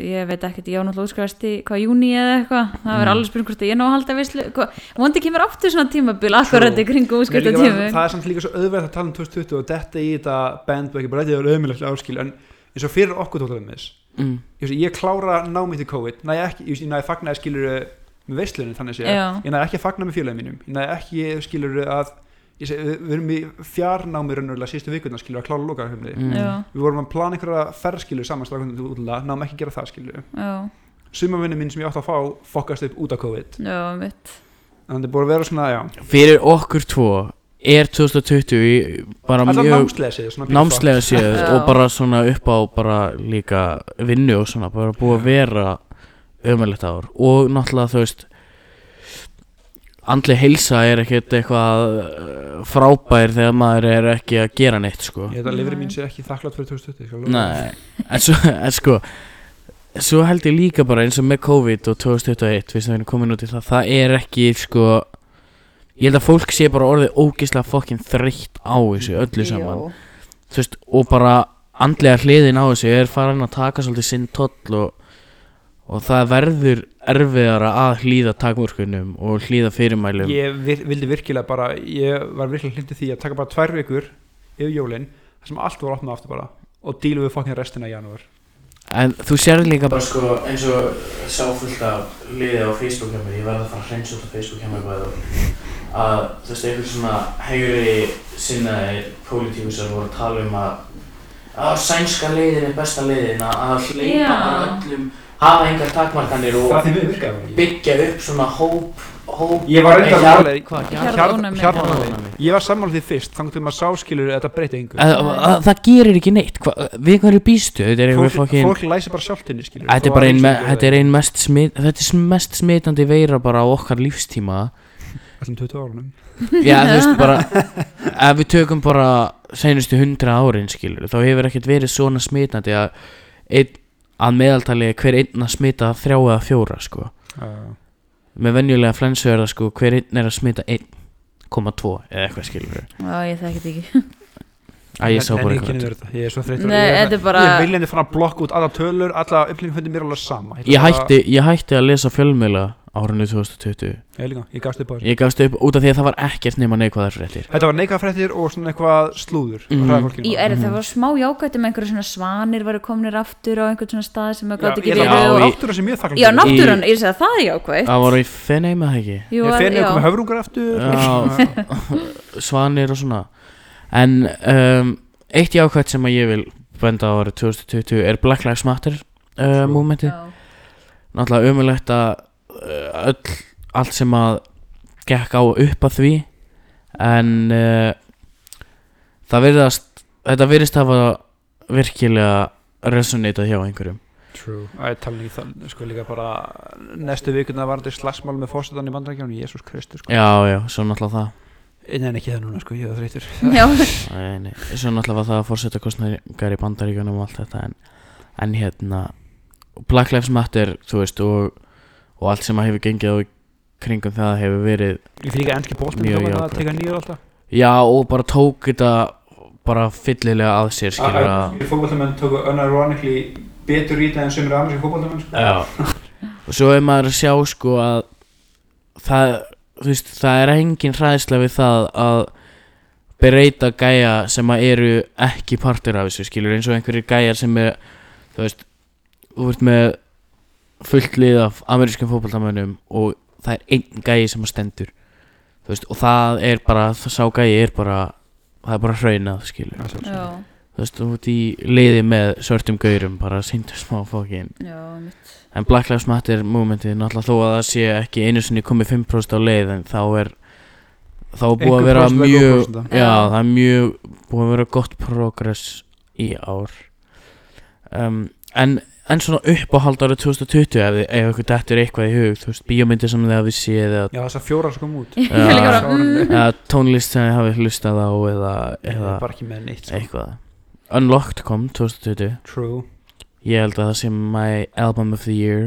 [SPEAKER 2] ég veit ekkert ég á náttúrulega útskrifast í hvað júni eða eitthvað það verður
[SPEAKER 1] Mm.
[SPEAKER 2] alveg spurning hvort að ég ná að halda veislu hvað, vondi kemur aftur svona tímabil akkurat í kringu
[SPEAKER 3] Mér
[SPEAKER 2] útskrifta
[SPEAKER 3] líka bara-
[SPEAKER 2] tími
[SPEAKER 3] Það er samt líka svo auðvægt að tala um 2020 og detta í þetta bandbæki bara þetta er auðmjöld áskil en eins og fyrir okkur tóttum við
[SPEAKER 1] mm.
[SPEAKER 3] ég, ég klára námið til COVID næ ekki, ég, ég næ fagnaði skilur með veislunin þannig séð,
[SPEAKER 2] Já.
[SPEAKER 3] ég næ ekki að fagna með félagin mínum, ég næ ekki skilur að ég seg, við við erum í fjarnámi raunverulega síðustu vikundar skilur að klára loka
[SPEAKER 1] Mm.
[SPEAKER 2] Já,
[SPEAKER 3] við vorum að plana einhverja ferðskilur saman strákunum til útla, náum ekki að gera það skilur
[SPEAKER 2] já,
[SPEAKER 3] sumavinni mín sem ég átti að fá fokkast upp út af COVID,
[SPEAKER 2] já, mitt
[SPEAKER 3] þannig að það búið að vera svona já,
[SPEAKER 1] fyrir okkur tvo er 2020 í- bara
[SPEAKER 3] alltaf
[SPEAKER 1] mjög
[SPEAKER 3] námsleysið svona pínu
[SPEAKER 1] námslega séð
[SPEAKER 2] Já.
[SPEAKER 1] og bara svona upp á bara líka vinnu og svona bara búið að vera ömulegt ár og náttúrulega þú veist andli heilsa er ekkert eitthvað eh, frábær þegar maður er ekki að gera neitt sko
[SPEAKER 3] fuck. ég held að lifri mín sé ekki þakklátt fyrir 2020 skal lofa.
[SPEAKER 1] Nei, en svo, en sko Svo held ég líka bara eins og með COVID og 2021 Við sem erum komin út í það Það er ekki sko Ég held að fólk sé bara orðið ógislega fokkin þreytt á þessu öllu saman Þú veist, og bara andlega hliðin á þessu er farin að taka svolítið sinn toll og, og það verður erfiðara að hlýða takmörkunum og hlýða fyrirmælum
[SPEAKER 3] ég vir, vildi virkilega bara ég var virkilega hlindi því að taka bara tvær vikur yfir jólinn, þar sem allt var opnað aftur bara og dílu við fokkin restina í janúar
[SPEAKER 1] En þú sér líka bara sko eins og sá fullt af liði á Facebook hjá mér, ég verði að fara að hreinsa út á Facebook hjá mér bæði að þú veist einhver svona hegri sinnaði pólitíkusar voru að tala um að að sænska leiðin er besta leiðin að að hleypa
[SPEAKER 2] Já.
[SPEAKER 1] bara öllum hafa einhver takmarkanir og
[SPEAKER 3] Það því við virkaði það ekki.
[SPEAKER 1] byggja upp svona hóp, hóp
[SPEAKER 3] Ég var reyndar
[SPEAKER 1] Hjarð-
[SPEAKER 3] máli-
[SPEAKER 1] hvað, hjarð-
[SPEAKER 2] Hjarðónæmi.
[SPEAKER 3] Hjarðónæmi. Ég var sammála því fyrst, þannig til maður sáskilur þetta breyti engu.
[SPEAKER 1] Að- að- að- Það gerir ekki neitt, hva, við hverju býstu, þetta er einhver
[SPEAKER 3] Fólk,
[SPEAKER 1] fokkin
[SPEAKER 3] fólk læsi bara sjálft henni, skilur.
[SPEAKER 1] Þetta er bara ein, me, þetta er ein mest, smit, þetta er sm- mest smitandi veira bara á okkar lífstíma
[SPEAKER 3] Allum 20 árunum.
[SPEAKER 1] Já, þú veist bara, ef við tökum bara senustu 100 árin skilur, þá hefur ekkert verið svona smitandi að, ein, að meðaltali er hver einn að smita þrjá eða fjóra sko
[SPEAKER 3] Uh,
[SPEAKER 1] með venjulega flensu er það sko hver einn er að smita 1,2 eða eitthvað skilur
[SPEAKER 2] Já, ég þekki þetta ekki.
[SPEAKER 1] að ég sá bara eitthvað
[SPEAKER 3] þetta. Ég er svo þreytur.
[SPEAKER 2] Nei, þetta er bara-
[SPEAKER 3] Ég vil henni fara að blokka út alla tölur, alla upplýningfundi mér er alveg sama. ætla
[SPEAKER 1] ég
[SPEAKER 3] bara-
[SPEAKER 1] hætti, ég hætti að lesa fjölmiðla árinu 2020
[SPEAKER 3] Ég líka, ég gafst upp á þessu.
[SPEAKER 1] ég gafst upp út af því að það var ekkert nema neikvæðar fréttir
[SPEAKER 3] Þetta var neikafrættir og svona eitthvað slúður.
[SPEAKER 1] Mhm.
[SPEAKER 2] Í er það var smá jákvætt um einhverju svona svanir varu komnir aftur á einhvern svona stað sem að gátt
[SPEAKER 3] Ég
[SPEAKER 2] ekki
[SPEAKER 3] er
[SPEAKER 1] ætla
[SPEAKER 2] verið
[SPEAKER 1] bara-
[SPEAKER 2] og-
[SPEAKER 1] Já, í-
[SPEAKER 3] náttúrulega sem mjög þakklátt
[SPEAKER 2] Já,
[SPEAKER 3] fyrir.
[SPEAKER 2] náttúran, ég segi að það er jákvætt.
[SPEAKER 1] það voru í fenei með það ekki
[SPEAKER 2] Jú,
[SPEAKER 3] Ég
[SPEAKER 2] að-
[SPEAKER 3] fenni
[SPEAKER 2] já.
[SPEAKER 3] okkur með höfrungar aftur
[SPEAKER 1] Já. svanir og svona en um, eitt jákvæmt sem að ég vil benda á árið 2020 er Black Lives Matter uh,
[SPEAKER 3] True.
[SPEAKER 1] momentið
[SPEAKER 2] Já.
[SPEAKER 1] náttúrulega umulegt að uh, öll, allt sem að gekk á upp að því en uh, það virðast þetta virðist hafa virkilega resonitað hjá einhverjum
[SPEAKER 3] True Það er talning það sko líka bara Næstu vikuna var þetta slagsmál með fórsetan í bandarækjánu Jésús Kristus sko
[SPEAKER 1] já já, svo náttúrulega það
[SPEAKER 3] Nei, en ekki það núna sko, ég er þreytur
[SPEAKER 2] Já,
[SPEAKER 1] Nei, nei, svo náttúrulega var það að fórseta kostningar í bandaríkjunum og allt þetta en, en hérna Black Lives Matter, þú veist og, og allt sem að hefur gengið á í kringum það hefur verið
[SPEAKER 3] Ég fyrir ekki að enski bóltum
[SPEAKER 1] Mjög
[SPEAKER 3] Mjög jákvæmt
[SPEAKER 1] jákvætt.
[SPEAKER 3] Það teka nýður alltaf
[SPEAKER 1] já og bara tók þetta bara fyllilega að sér skilur að
[SPEAKER 3] Fókbóltamenn tóku unironically betur í það en sem eru ameríski fókbóltamenn sko
[SPEAKER 1] já og svo er maður að sjá sko að það, þú veist, það er engin hræðsla við það að breyta gæja sem að eru ekki partur af þessu skilur eins og einhverjir gæjar sem er þú veist, þú ert með fullt lið af amerískum fótboltamönnum og það er einn gæji sem að stendur þú veist, og það er bara, það sá gæji er bara það er bara hraunað skilur
[SPEAKER 2] já,
[SPEAKER 1] þú veist, þú ert í liði með svörtum gaurum bara síndu smá fókin
[SPEAKER 2] já, mitt.
[SPEAKER 1] en Black Lives Matter momentið náttúrulega þó að það sé ekki einu sinni komið 5% á leið en þá er þá er búið að vera
[SPEAKER 3] Einhver prósenta, einhver
[SPEAKER 1] mjög
[SPEAKER 3] prósenta.
[SPEAKER 1] já, það er mjög búið að vera gott progress í ár um, en en svona uppáhald árið 2020 ef, þið- ef ykkur dettur eitthvað í hug þú veist, bíómyndir sem þið hafið séð eða,
[SPEAKER 3] Já, þess að fjóra sem kom út
[SPEAKER 2] Ég er líka bara,
[SPEAKER 3] Já.
[SPEAKER 2] mm,
[SPEAKER 1] eða tónlist sem þið hafið hlustað á eða,
[SPEAKER 3] Ég
[SPEAKER 1] eða
[SPEAKER 3] er bara ekki með neitt sko
[SPEAKER 1] eitthvað Unlocked kom 2020
[SPEAKER 3] True
[SPEAKER 1] ég held að það sé my album of the year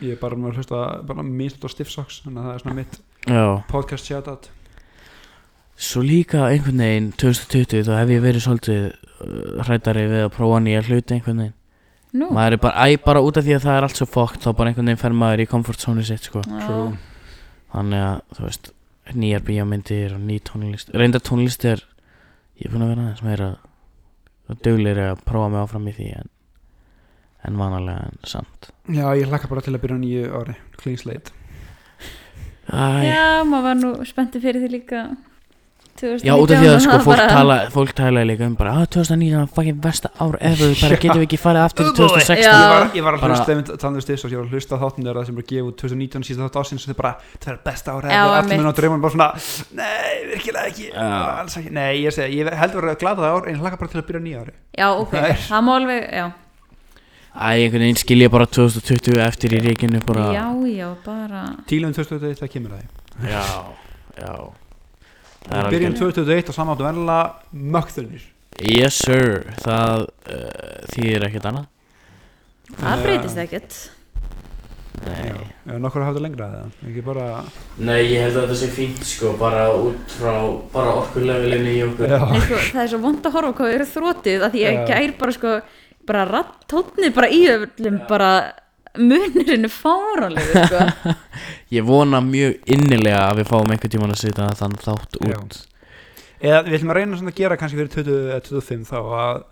[SPEAKER 3] Ég er bara með að hlusta bara mist og stiffsocks Þannig að það er svona mitt
[SPEAKER 1] já
[SPEAKER 3] podcast shoutout
[SPEAKER 1] Svo líka einhvern veginn 2020 þá hef ég verið svolítið hrættari við að prófa nýja hluti einhvern veginn
[SPEAKER 2] "Mm, nú.
[SPEAKER 1] Maður er bara, æ, bara út af því að það er allt svo fokkt þá bara einhvern veginn fer maður í comfort zone sitt sko
[SPEAKER 2] Já.
[SPEAKER 3] True
[SPEAKER 1] Þannig að, þú veist, nýjar bíómyndir og ný tónlist Reyndar tónlist er, ég er búin að vera aðeins meira og duglir að prófa mig áfram í því en, en vanalega en samt
[SPEAKER 3] Já, ég hlakka bara til að byrja á nýju ári Clean slate
[SPEAKER 1] Æ,
[SPEAKER 2] Já, maður var nú spenntið fyrir því líka 2019,
[SPEAKER 1] Já, út af því að
[SPEAKER 2] það
[SPEAKER 1] sko
[SPEAKER 2] var
[SPEAKER 1] fólk
[SPEAKER 2] bara-
[SPEAKER 1] tala, fólk tala líka um bara að 2019 var fucking versta ár ever bara getum við ekki farið aftur í 2016
[SPEAKER 2] Já.
[SPEAKER 3] ég var, ég var að
[SPEAKER 1] Bara-
[SPEAKER 3] hlusta einmitt Tannlega stis og ég var að hlusta þáttin þegar það sem er að gefa út 2019 síðan þátt ásins þetta er bara, það er besta ára
[SPEAKER 2] Já,
[SPEAKER 3] eða allir
[SPEAKER 2] einmitt.
[SPEAKER 3] minna á draumann bara svona nei, virkilega ekki,
[SPEAKER 1] Já.
[SPEAKER 3] alls ekki nei, ég segi, ég heldur að vera glada það ár en ég hlakka bara til að byrja nýja ári
[SPEAKER 2] Já, ok,
[SPEAKER 3] Það er-
[SPEAKER 2] það má alveg, já
[SPEAKER 1] Æ, einhvern veginn skilja bara 2020 eftir í ríkinu bara
[SPEAKER 2] Já, já, bara
[SPEAKER 3] tílum 2021, það kemur að því
[SPEAKER 1] já, já. Það er
[SPEAKER 3] Við byrjum
[SPEAKER 1] algjörlega-
[SPEAKER 3] 2021 og samáttu vennilega mögþunir
[SPEAKER 1] Yes sir, það uh, þýðir ekkert annað
[SPEAKER 2] Það breytist ekkert
[SPEAKER 1] Nei.
[SPEAKER 3] nokkur að hafa þetta lengra eða ekki bara,
[SPEAKER 1] Nei, ég held að þetta sé fínt sko bara út frá, bara orkulevelinu í okkur
[SPEAKER 3] já,
[SPEAKER 2] Nei, sko, Það er svo vond að horfa hvað við erum þrótið að Því
[SPEAKER 3] Ah. Já.
[SPEAKER 2] ég gær bara sko bara rattótnið bara í öllum bara munirinu fáranlegu sko.
[SPEAKER 1] Ég vona mjög innilega að við fáum einhvern tímann að setja þann þátt
[SPEAKER 3] Já.
[SPEAKER 1] út
[SPEAKER 3] eða við ætlum að reyna svona að gera kannski fyrir 20 eða 25 þá að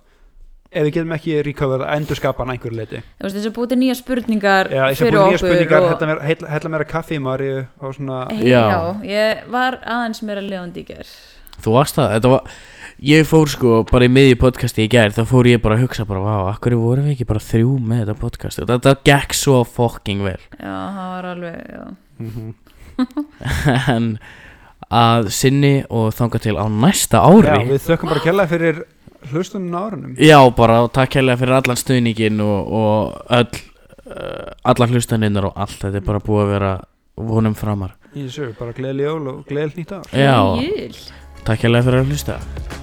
[SPEAKER 3] ef við getum ekki recover endurskapan einhverju leiti
[SPEAKER 2] Þú veist, þess að búið til nýja spurningar
[SPEAKER 3] Já, ég sé
[SPEAKER 2] fyrir
[SPEAKER 3] búin nýja
[SPEAKER 2] okkur
[SPEAKER 3] spurningar,
[SPEAKER 2] og-
[SPEAKER 3] hella meira- hella hella meira kaffi í Maríu og svona
[SPEAKER 2] Hey,
[SPEAKER 1] Já.
[SPEAKER 2] Já, ég var aðeins meira leðandi í ger
[SPEAKER 1] Þú varst það, þetta var Ég fór sko bara í miðju podcasti í gær Þá fór ég bara að hugsa bara Vá, akkur vorum við ekki bara þrjú með þetta podcast Og þetta gekk svo fucking vel
[SPEAKER 2] já, það var alveg já.
[SPEAKER 1] En að sinni og þanga til á næsta ári
[SPEAKER 3] Já, við þökkum bara kella fyrir hlustunum á árunum
[SPEAKER 1] Já, bara og takk hérlega fyrir allan stuðningin og, og öll, uh, allar hlustaninnar og allt Þetta er bara búið að vera vonum framar
[SPEAKER 2] É,
[SPEAKER 3] Ég sé, bara gleðli jól og gleðli nýtt ár
[SPEAKER 1] Já,
[SPEAKER 2] Júl.
[SPEAKER 1] takk hérlega fyrir að hlusta